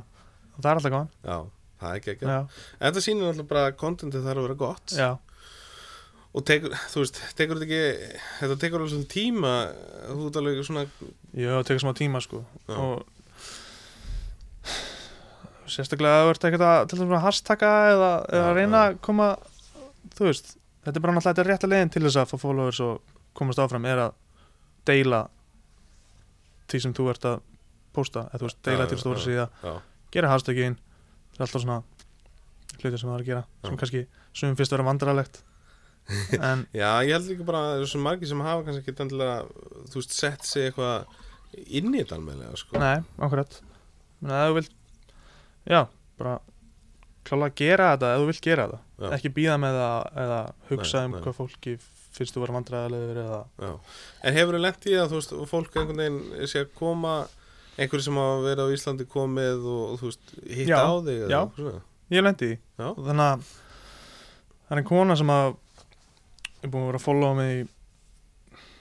Og það er alltaf gaman já, það er ekki ekki já. Þetta sýnir náttúrulega bara að kontentið þarf að vera gott Já. og tekur, þú veist, tekur þetta ekki þetta tekur alveg svona tíma þú ert alveg svona Jú, það tekur smá tíma sko Já. og sérstaklega að þú ert ekkert að til dæmis að hashtagga eða, eða Já, reyna að koma þú veist, þetta er bara náttúrulega þetta er rétta leiðin til þess að fá followers og komast áfram er að deila því sem þú ert að posta, eða þú veist, deila Já, til já, já. stóra síða, já, gera hashtaggin það er alltaf svona hluti sem það er að gera, sem Já. kannski sumum finnst að vera *laughs* vandralegt en já, ég held líka bara að það eru svo margir sem hafa kannski ekki endilega þú veist, sett sig eitthvað inn í þetta almennlega, sko Nei, akkurat Men að þú vilt Já, bara klála að gera þetta ef þú vilt gera þetta Já. Ekki býða með það eða hugsa Nei, um nei. hvað fólki finnst þú vera vandræðilegur eða já. en hefur þú lent í að, þú veist, og fólk einhvern veginn sé að koma einhverju sem hafa verið á Íslandi komið og, og þú veist, hitta Já, á þig eða já. eitthvað svona. Ég lendi í því. Já. Og Þannig að það er kona sem að er búin að vera að followa mig í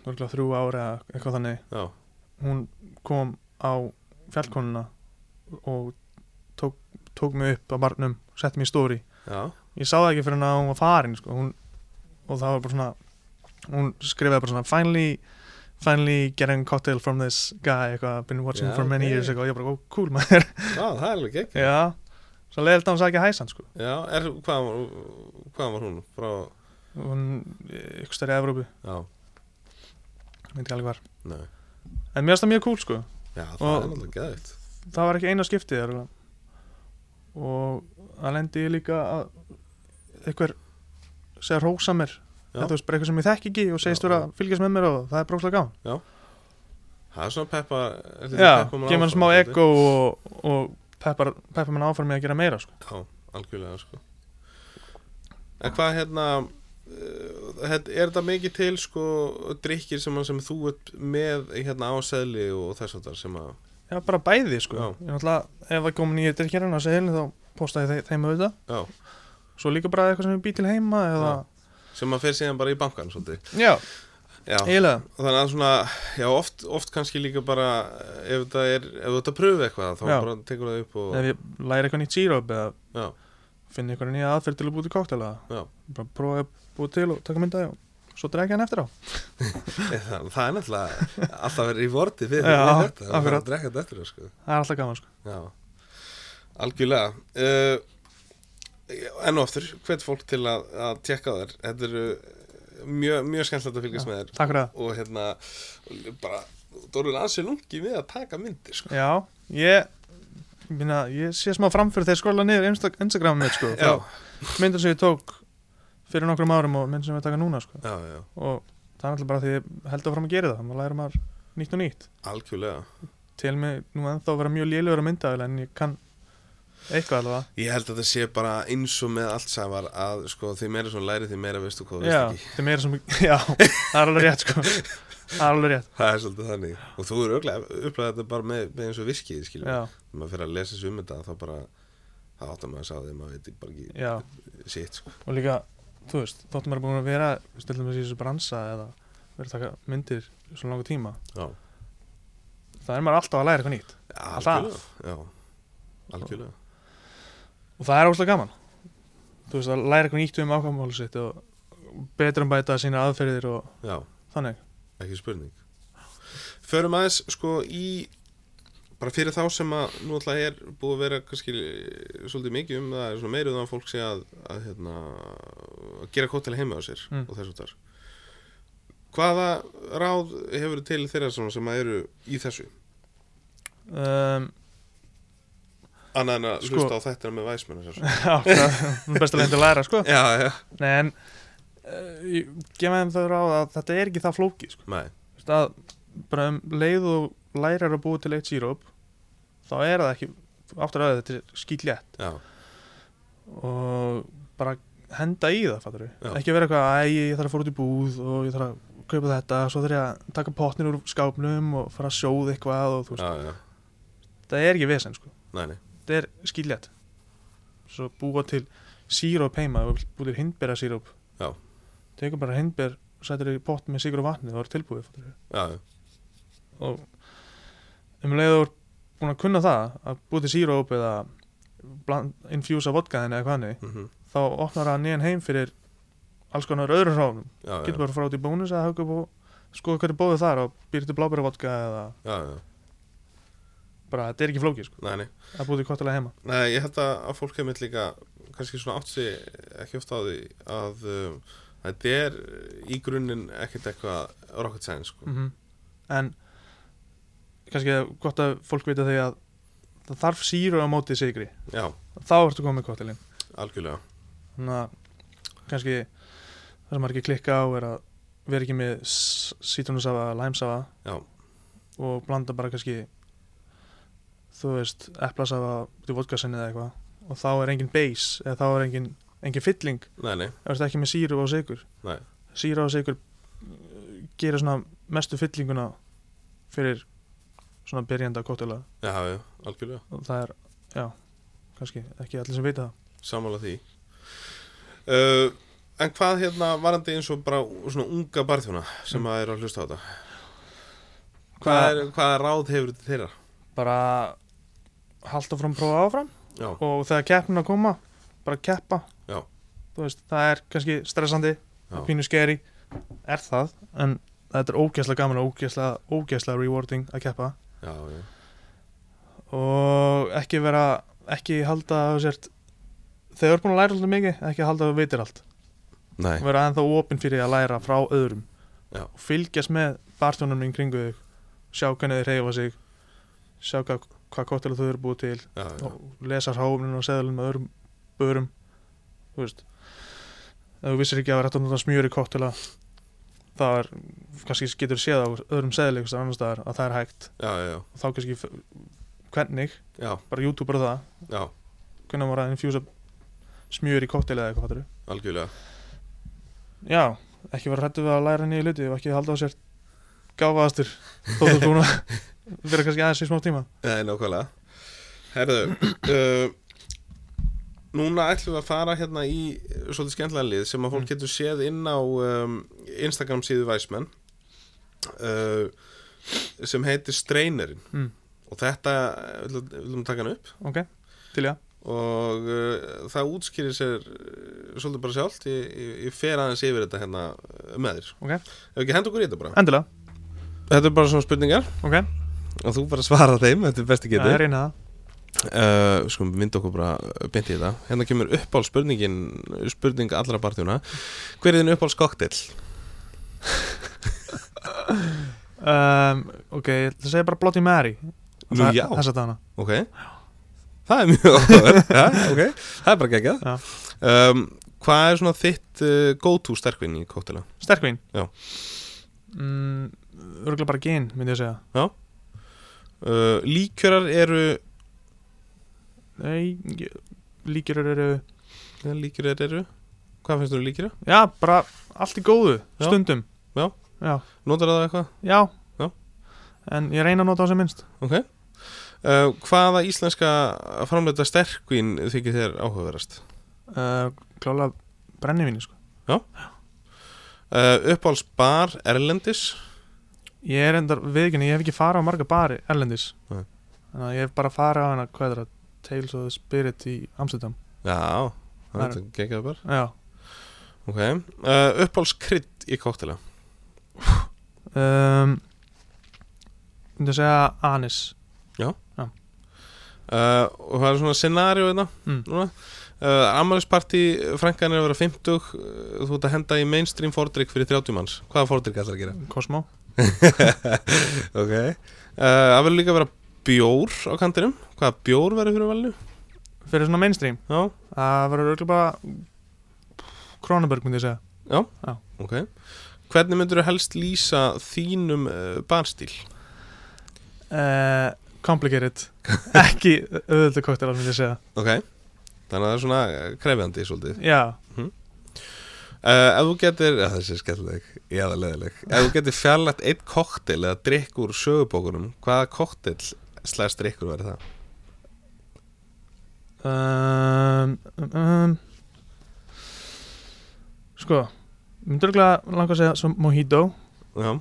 örgulega þrjú ári eða eitthvað þannig já, Hún kom á fjallkonuna og tók, tók mig upp á barnum sett mig í stóri já, ég sá það ekki fyrir hann að hún var farin sko. hún, og það var bara svona hún skrifaði bara svona finally, finally getting cocktail from this guy eitthvað, been watching Já, for many ok. years eitthvað, og ég bara, oh, cool *laughs* maður já, það er alveg ekki já, svo leiðilt að hún sagði ekki hæsan sko. já, er, hvað, hvað var hún frá, hún, ykkur stær í Evrópu já, ég veit ekki alveg hvar, nei en mér finnst það mjög cool sko. já, það Og- er alveg geðvitt það var ekki eina skiptið örugglega. og það lendi ég líka að einhver segja rósa mér Já. þetta er bara eitthvað sem ég þekki ekki og segist Já, vera að fylgjast með mér og það er brókslega gán Það er svona peppa Já, gefur hann smá ego og, og peppar, peppar mann áfram með að gera meira sko. Já, algjörlega sko. En hvað hérna uh, þetta- Er þetta mikið til sko drikkir sem, að- sem þú ert með hérna á seðli og þess að það sem að Já, bara bæði sko. Já. Ég náttúrulega, ef það komin í drikkjarinn á seðilin þá posta ég þe þeim auðvitað Já, Svo líka bara eitthvað sem ég bý til heima eða... sem að fer síðan bara í bankan svolítið Já, Já, eiginlega þannig að svona Já, oft, oft kannski líka bara eh, ef þetta er, ef þú ert að pröfu eitthvað þá Já. bara tekur það upp og Ef ég læri eitthvað nýtt síróp eða Já, finn eitthvað nýja aðferð til að búið til kóktela Já. Bara prófa að búið til og taka myndaði og svo drega hann eftir á það, það er náttúrulega *laughs* alltaf verið í vorti fyrir Já, fyrir þetta, það er akkurat. að drekka þetta eftir sko. Það er alltaf gaman sko. Já, algjörlega uh, Enn og aftur, hvet fólk til að, að tjekka á þér Þetta eru mjög, mjög skemmtilegt að fylgjast með þér Takk fyrir það Og hérna, bara, þú eru ansið lungi við að taka myndir sko. Já, ég, minna, ég sé smá framfyrir þegar skóla niður Insta- Instagramið mitt sko. Já, myndir sem ég tók fyrir nokkrum árum og myndir sem ég taka núna sko. já, já, og það er alltaf bara því ég held áfram að gera það maður læra maður nýtt og nýtt algjörlega til mig nú ennþá vera mjög lélugur að mynda en ég kann eitthvað alveg Ég held að þetta sé bara eins og með allt sæmar að sko, því meira svona læri því meira veistu hvað þú já, veist ekki það er meira sem *laughs* já, það er alveg rétt sko það er alveg rétt Það er svolítið þannig og þú eru upplæðið þetta bara með, með eins og virkið skiljum já, Þegar maður fyrir að lesa sér um þetta þá bara þá áttar maður að sá því maður veit bara ekki já, sitt sko. og líka þú veist, þóttum maður er búin að vera stiltum að þessu bransa eða vera að taka myndir svona langa tíma Já, það er maður alltaf að læra eitthvað nýtt algjörlega Já, algjörlega og það er óslega gaman þú veist að læra eitthvað nýtt um ákvæmálu sitt og betur um bæta sína aðferðir og Já, þannig ekki spurning Förum aðeins sko í bara fyrir þá sem að nú alltaf er búið að vera kannski eh, svolítið mikið um það er svona meirið að fólk sé að, að, hérna, að gera kóttel heima á sér Mm. og þess að þar Hvaða ráð hefur Ehm, til þeirra svona sem að eru í þessu? um, annað en að Sko- hlusta á þættina með væsmenn já, *laughs* *laughs* Já, það er best að leiðin til að læra sko já, Nei, en uh, ég gefa þeim þau ráð að þetta er ekki það flókið sko. nei, Þú veist að bara um leið og lærar að búa til eitt síróp þá er það ekki áttur að þetta er skýtlétt já, og bara henda í það fattur við, Já. ekki vera eitthvað æ, ég þarf að fóra út í búð og ég þarf að kaupa þetta svo þarf ég að taka potnin úr skápnum og fara að sjóða eitthvað og þú veist, já, já, það er ekki vesen sko, nei, nei þetta er skýtlétt svo búa til síróp heima, ef þú vilt búa til hindbera síróp Já. tekur bara hindber sætir í pott með sigur og vatni það er tilbúið fattur við já, já, og um leið og þú ert búin að kunna það að búið til síróp eða bland, infjúsa vodkaðin eða hvað hannig mhm, þá opnar það nýjan heim fyrir alls konar öðrum hrófnum já, já, getur bara að fara út í bónus eða hauka upp og skoða hverju bóðu þar og býr til blábæri vodka eða já, já, bara þetta er ekki flókið sko nei, nei að búið til kottilega heima Nei, ég held að, að fólk hefur mitt líka kannski svona átt sig ekki oft á því að um, þetta er í grunninn ekkert eitthvað rocket science sko. mm en kannski er gott að fólk vita því að það þarf síru á móti sigri Já, þá ertu komið kottilin algjörlega þannig að kannski það sem maður ekki klikka á er að vera ekki með s- sítrunusafa, læmsafa Já. og blanda bara kannski þú veist, eplasafa út í vodkasinni eða eitthvað og þá er engin base eða þá er engin, engin fylling Nei, nei, ef þetta ekki með síru og sigur Nei. síru og sigur uh, gera svona mestu fyllinguna fyrir svona byrjanda kóttula já, já, algjörlega og það er, já, kannski ekki allir sem vita það Samála því uh, En hvað hérna varandi eins og bara svona unga barþjóna sem að eru að hlusta á þetta Mm. Hvað, er, hvað ráð hefur til þeirra? bara halda fram, prófa áfram Já, og þegar keppnina koma bara keppa Já. þú veist, það er kannski stressandi já, pínu skeri, er það en þetta er ógeðslega gaman og ógeðslega, ógeðslega rewarding að keppa já, já, og ekki vera ekki halda að þú sért þegar þú er búin að læra alltaf mikið, ekki halda að þú veitir allt nei, vera ennþá opinn fyrir að læra frá öðrum Já. og fylgjast með barstjónum í kringu þig sjá hvernig þið reyfa sig sjá hvað, hvað kóttel þú eru búið til já, já, og lesa hráumlinu og seðalinn með öðrum börum þú veist ef þú vissir ekki að það er hægt að nota smjör í koktela þá er, kannski getur séð á öðrum seðli eitthvað annars staðar að það er hægt já, já, og þá kannski f- hvernig, já, bara YouTube bara það já, hvernig maður að infjúsa smjör í koktela eða eitthvað fattur algjörlega já, ekki vera hrættu við að læra nýju hluti og ekki halda á sér gáfaðastur þó þú búin að *laughs* vera kannski aðeins í smá tíma Nei, nákvæmlega Herðu uh, Núna ætlum við að fara hérna í uh, svolítið skemmtilega lið sem að fólk Mm. getur séð inn á um, Instagram síðu Væsmenn uh, sem heitir Strainerinn Mm. og þetta uh, við ætlum við ætlum að taka hann upp ok, til já, og uh, það útskýrir sér uh, svolítið bara sjálft ég, ég, ég fer aðeins yfir þetta hérna uh, með þér Ok. Ef ekki hendur okkur í þetta bara endilega Þetta er bara svona spurningar ok, og þú bara svara þeim, þetta er besti það er eina það uh, sko, vindu okkur bara beint í þetta hérna kemur uppáhald spurningin spurning allra partjuna hver er þinn uppáhald skoktill? Um, ok, ég ætla að segja bara Bloody Mary Nú, Það- já. Þess að dana ok, það er mjög áhugavert. ja, ok, það er bara Já. geggjað um, hvað er svona þitt uh, go to sterkvinn í koktela? Sterkvín Já. mm, Örgulega bara gin, myndi ég að segja Uh, líkjörar eru Nei, ég- líkjur eru ja, líkjörar eru hvað finnst þú líkjöra? Já, bara allt í góðu, Já. stundum Já. Já, notar það eitthvað? já, Já. En ég reyna að nota á sem minnst ok uh, hvaða íslenska framleita sterkvinn þykir þér áhugaverast? uh, Klálega brennivíni, sko Uh, uppáhalds bar erlendis Ég er endar viðkynni, ég hef ekki farið á marga bari erlendis Nei. Þannig að ég hef bara farið á hana, hvað er það Tales of the Spirit í Amsterdam Já, Það er- þetta geggjað bara Já, Ok, uh, uppáhalds krydd í kóktela um, myndi að segja Anis uh, Og það er svona scenario þetta Mm. Núna uh, Amalisparti, frænkan er að vera 50 uh, Þú ert að henda í mainstream fordrykk fyrir 30 manns Mm. Hvaða fordrykk ætlar að gera? Cosmo ok uh, Eh, Það verður líka að vera bjór á kantinum Hvaða bjór verður fyrir valinu? Fyrir svona mainstream Já, Það verður auðvitað bara Kronenberg myndi ég segja ok Hvernig myndur þú helst lýsa þínum uh, barstíl? uh, *laughs* Complicated Ekki auðvitað koktelar myndi ég segja Ok, þannig að það er svona eh, krefjandi svolítið Já, Uh, ef þú getur, að þessi er skellileg ég aða leðileg, ef þú getur fjarlægt eitt koktel eða drikk úr sögubókunum hvaða koktel slæst drikkur verður það? um, um, um. Sko Myndur auðvitað langa að segja svo Mojito Já,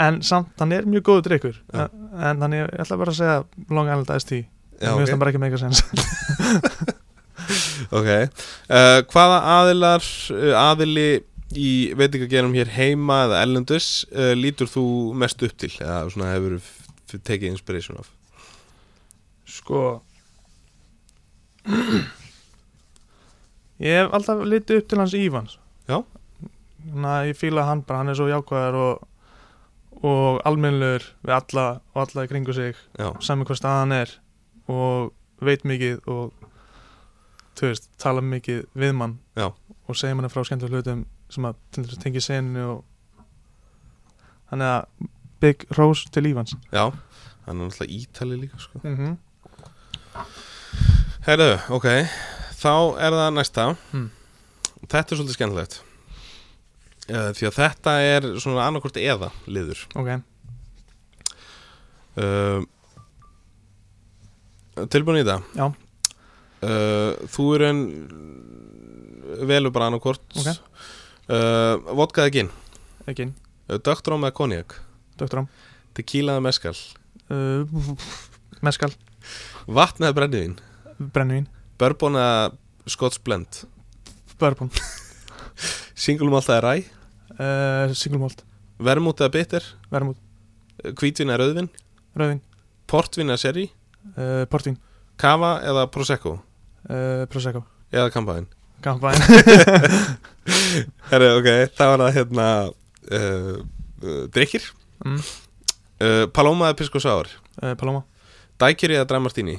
En samt, hann er mjög góður drikkur Já. En en hann er, ég ætla bara að segja Long Island Iced Tea já Mér ok, finnst það bara ekki meika sens okay. Uh, hvaða aðilar uh, aðili í veitingagerum hér heima eða ellendus uh, lítur þú mest upp til eða svona hefur tekið inspiration af Sko Ég hef alltaf litið upp til hans Ívans Já. Þannig að ég fíla hann bara, hann er svo jákvæðar og og almennlegur við alla og alla í kringu sig Já, sami hvað staðan er og veit mikið og þú veist, tala mikið við mann Já. og segja manni frá skemmtilega hlutum sem að til þess að tengi seninu og þannig að Big Rose til Ívans já, hann er náttúrulega ítali líka sko. mm -hmm. Herðu, ok, þá er það næsta Mm. Þetta er svolítið skemmtilegt uh, Því að þetta er svona annarkort eða liður Ok, uh, Tilbúin í það Já. uh, Þú er en velur bara annarkort Ok. uh, Vodkaði ginn ekki, Dögtrám með konjak Dr. Ám Tequilaði meskal uh, meskal, Vatnaði brennivín brennivín, Börbónaði skotsblend bourbon, Singlum alltaf ræ uh, single malt, Vermútaði bitter vermút, Hvítvinna rauðvin rauðin, Portvinna seri uh, portvín, Kava eða Prosecco uh, prosecco, eða kampaðin kampaðin, Herru, ok, það var það hérna uh, uh, drikkir *laughs* Mm. uh, Paloma eða Pisco Sour uh, paloma, Daiquiri eða Dry Martini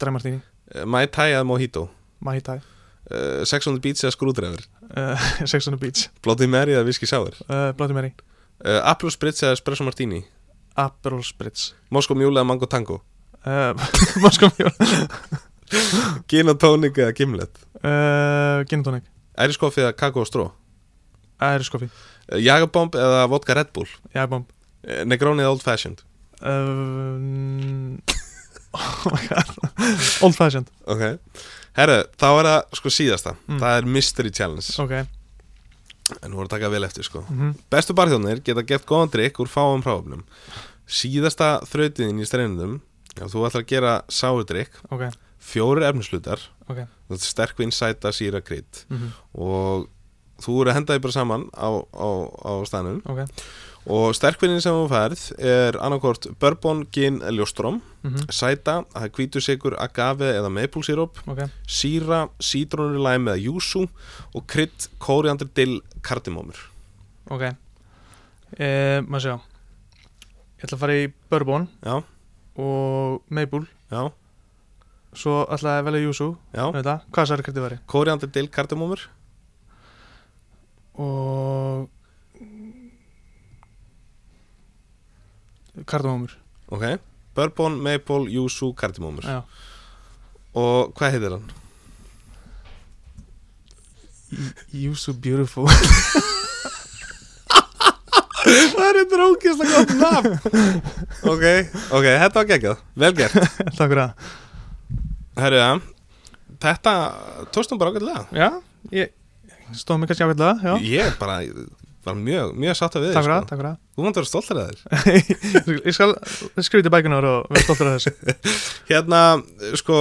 dry martini, uh, Mai Tai eða Mojito mahitai, uh, Sex on the Beach eða Skrúdreifur uh, *laughs* sex on the beach, Bloody Mary eða Whisky Sour uh, bloody mary, uh, Apple Spritz eða Espresso Martini aperol spritz, Moskó Mjúla eða Mango Tango uh, *laughs* moskvamjór, Gin og Tonic eða Gimlet uh, gin and tonic, Æriskoffi eða Kakao og Stró uh, æriskoffi, Jagabomb eða Vodka Red Bull jægbomb, uh, Negroni eða Old Fashioned uh, mm, *laughs* oh my god, old fashioned, Ok, herru, þá er það sko síðasta Mm. Það er Mystery Challenge ok, En voru að taka vel eftir sko mm Bestu barþjónir geta gett góðan drikk úr fáum hráöfnum Síðasta þrautiðin í streinundum Ef þú ætlar að gera sáudrykk ok, Fjórir efnislutar ok, þú ert Sterk vinsæta síra krydd mm Og þú eru að henda því bara saman á, á, á stanum ok, Og sterkvinnin sem þú færð er annarkort bourbon, gin, ljóstróm mm Sæta, það er hvítusikur, agave eða maple syrup ok, Síra, sítrónur, læmi eða júsú Og krydd, kóriandir, dill, kardimómur Ok e, Maður sjá Ég ætla að fara í bourbon Já. Og maple Já, Svo ætla ég að velja júsú já, Þetta, hvað særi kredið væri kóriandir, dill, kardimómur Og Kardamómur Ok, bourbon, maple, yuzu, kardimómur Já Og hvað heitir hann? You so beautiful *laughs* Það er þetta rókislega gott nafn *laughs* Ok, ok, þetta var geggjað Vel gert Takk fyrir það Herru, ja, þetta tóstum bara ágætlega Já, ég stóð mig kannski ákveðlega Já, Ég bara var mjög, mjög sátt að við takk fyrir það, þig, sko. Þú mátt *laughs* takk fyrir vera stoltar að þér það Ég skal skrifa í bækunar og vera stoltur af þessu Hérna, sko,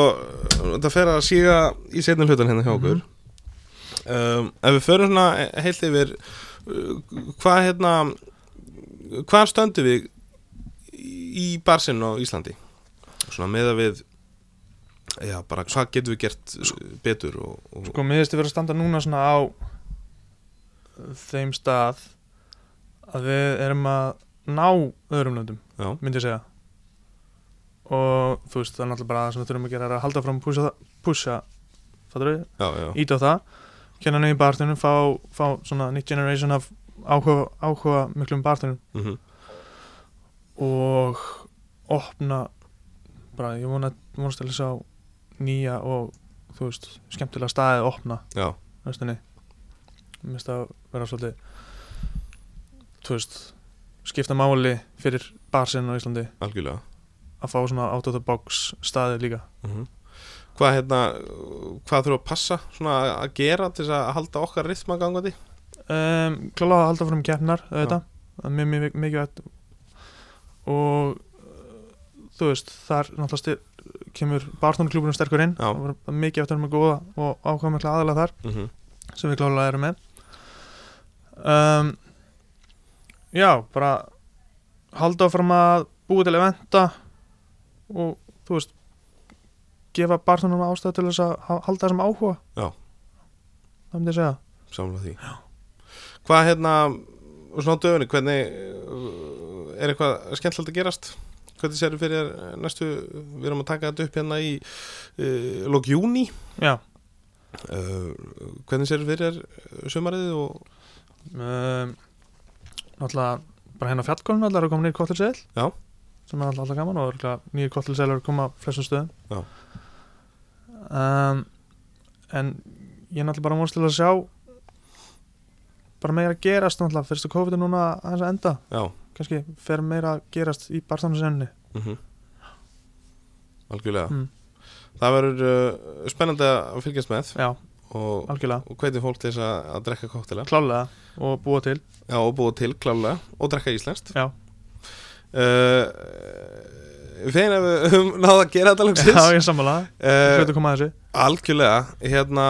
þetta fer að síga í setnum hlutan hérna hjá okkur um, Ef við förum svona heilt yfir uh, Hvað hérna Hvað stöndum við í barsinn á Íslandi? Svona meða við Já, bara hvað getum við gert uh, betur og, og Sko, mér finnst ég verið að standa núna svona á uh, þeim stað að við erum að ná öðrum löndum, Já. myndi ég segja og þú veist það er náttúrulega bara það sem við þurfum að gera er að halda fram púsa, púsa fattur við, já, já, ít á það kenna nefn í barðunum, fá, fá svona nýtt generation af áhuga, áhuga miklum barðunum mm og opna bara ég vona, vonast til þess að nýja og þú veist skemmtilega staðið að opna já, næstunni mér finnst það að vera svolítið þú veist skipta máli fyrir barsinn á Íslandi algjörlega að fá svona out of the box staðið líka mm Hvað hérna, hvað þurfum að passa svona að gera til þess að halda okkar rithma gangandi? um, klála að halda fyrir um keppnar þetta, það er mjög mjög mikið vett og uh, þú veist, þar náttúrulega styr, kemur barnarklúburinn sterkur inn Já. það var mikið eftir með góða og ákvæmlega aðalega þar Mm -hmm. sem við klálega erum með um, Já, bara halda áfram að búa til eventa og þú veist gefa barnunum ástæðu til þess að ha- halda þessum áhuga Já. Það myndi ég segja Samla því já. Hvað hérna, og svona á döfunni, hvernig uh, er eitthvað skemmtilegt að gerast? Hvernig sér fyrir þér næstu, við erum að taka þetta upp hérna í uh, lók júni Já, uh, Hvernig sér fyrir þér uh, sumarið og um, náttúrulega bara hérna á fjallkonum náttúrulega eru komin nýr kottilseil Já. sem er náttúrulega alltaf gaman og örugglega nýr kottilseil eru að koma á flestum stöðum Já. um, en ég er náttúrulega bara múlst til að sjá bara meira að gerast náttúrulega fyrst að COVID er núna aðeins að enda já, kannski fer meira að gerast í barþámsinsenni mm algjörlega Mm. Það verður uh, spennandi að fylgjast með já, og, algjörlega, og hvernig fólk til þess að, að drekka koktela klálega og búa til Já, og búa til klálega og drekka íslenskt Já. Eh, Þegar að Eh, við höfum náða að gera þetta já, loksins ég er sammála, Eh, hlutu koma að þessu Algjörlega, hérna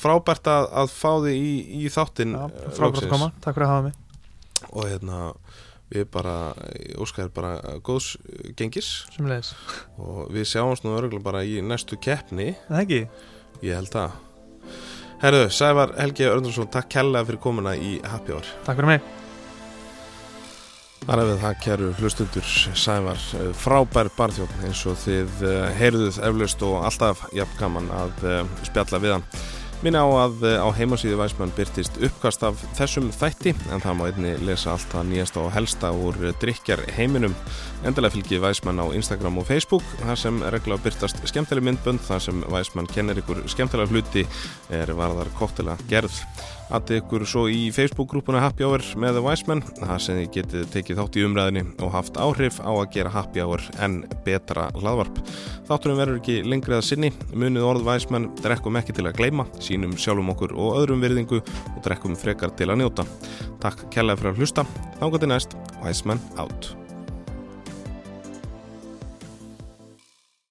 frábært að, að fá þig í, í þáttinn já, eh, frábært loksins. að koma, takk fyrir að hafa mig og hérna við bara, óskar bara eh, góðs eh, gengis sem leðis, og við sjáumst nú örgulega bara í næstu keppni en það ekki ég held það Herðu, Sævar Helgi Örndursson, takk kærlega fyrir komuna í Happy Hour takk fyrir mig Þar er við það, kæru hlustundur Sævar, eh, frábær barþjóðn eins og þið eh, heyrðuð eflaust og alltaf jafnkaman að eh, spjalla við hann. Minna á að eh, á heimasíðu Væsmann byrtist uppkast af þessum þætti en það má einni lesa allt það nýjasta og helsta úr drikjar heiminum. Endilega fylgið Væsmann á Instagram og Facebook þar sem regla byrtast skemmtileg myndbönd þar sem Væsmann kennir ykkur skemmtilega hluti er varðar koktela gerð. Attið ykkur svo í Facebook-grúpuna Happy Hour með The Wiseman, þar sem þið getið tekið þátt í umræðinni og haft áhrif á að gera Happy Hour en betra hlaðvarp. Þátturum verður ekki lengri að sinni, munið orð Wiseman, drekkum ekki til að gleyma, sínum sjálfum okkur og öðrum virðingu og drekkum frekar til að njóta. Takk kærlega fyrir að hlusta, þángat til næst, Wiseman out.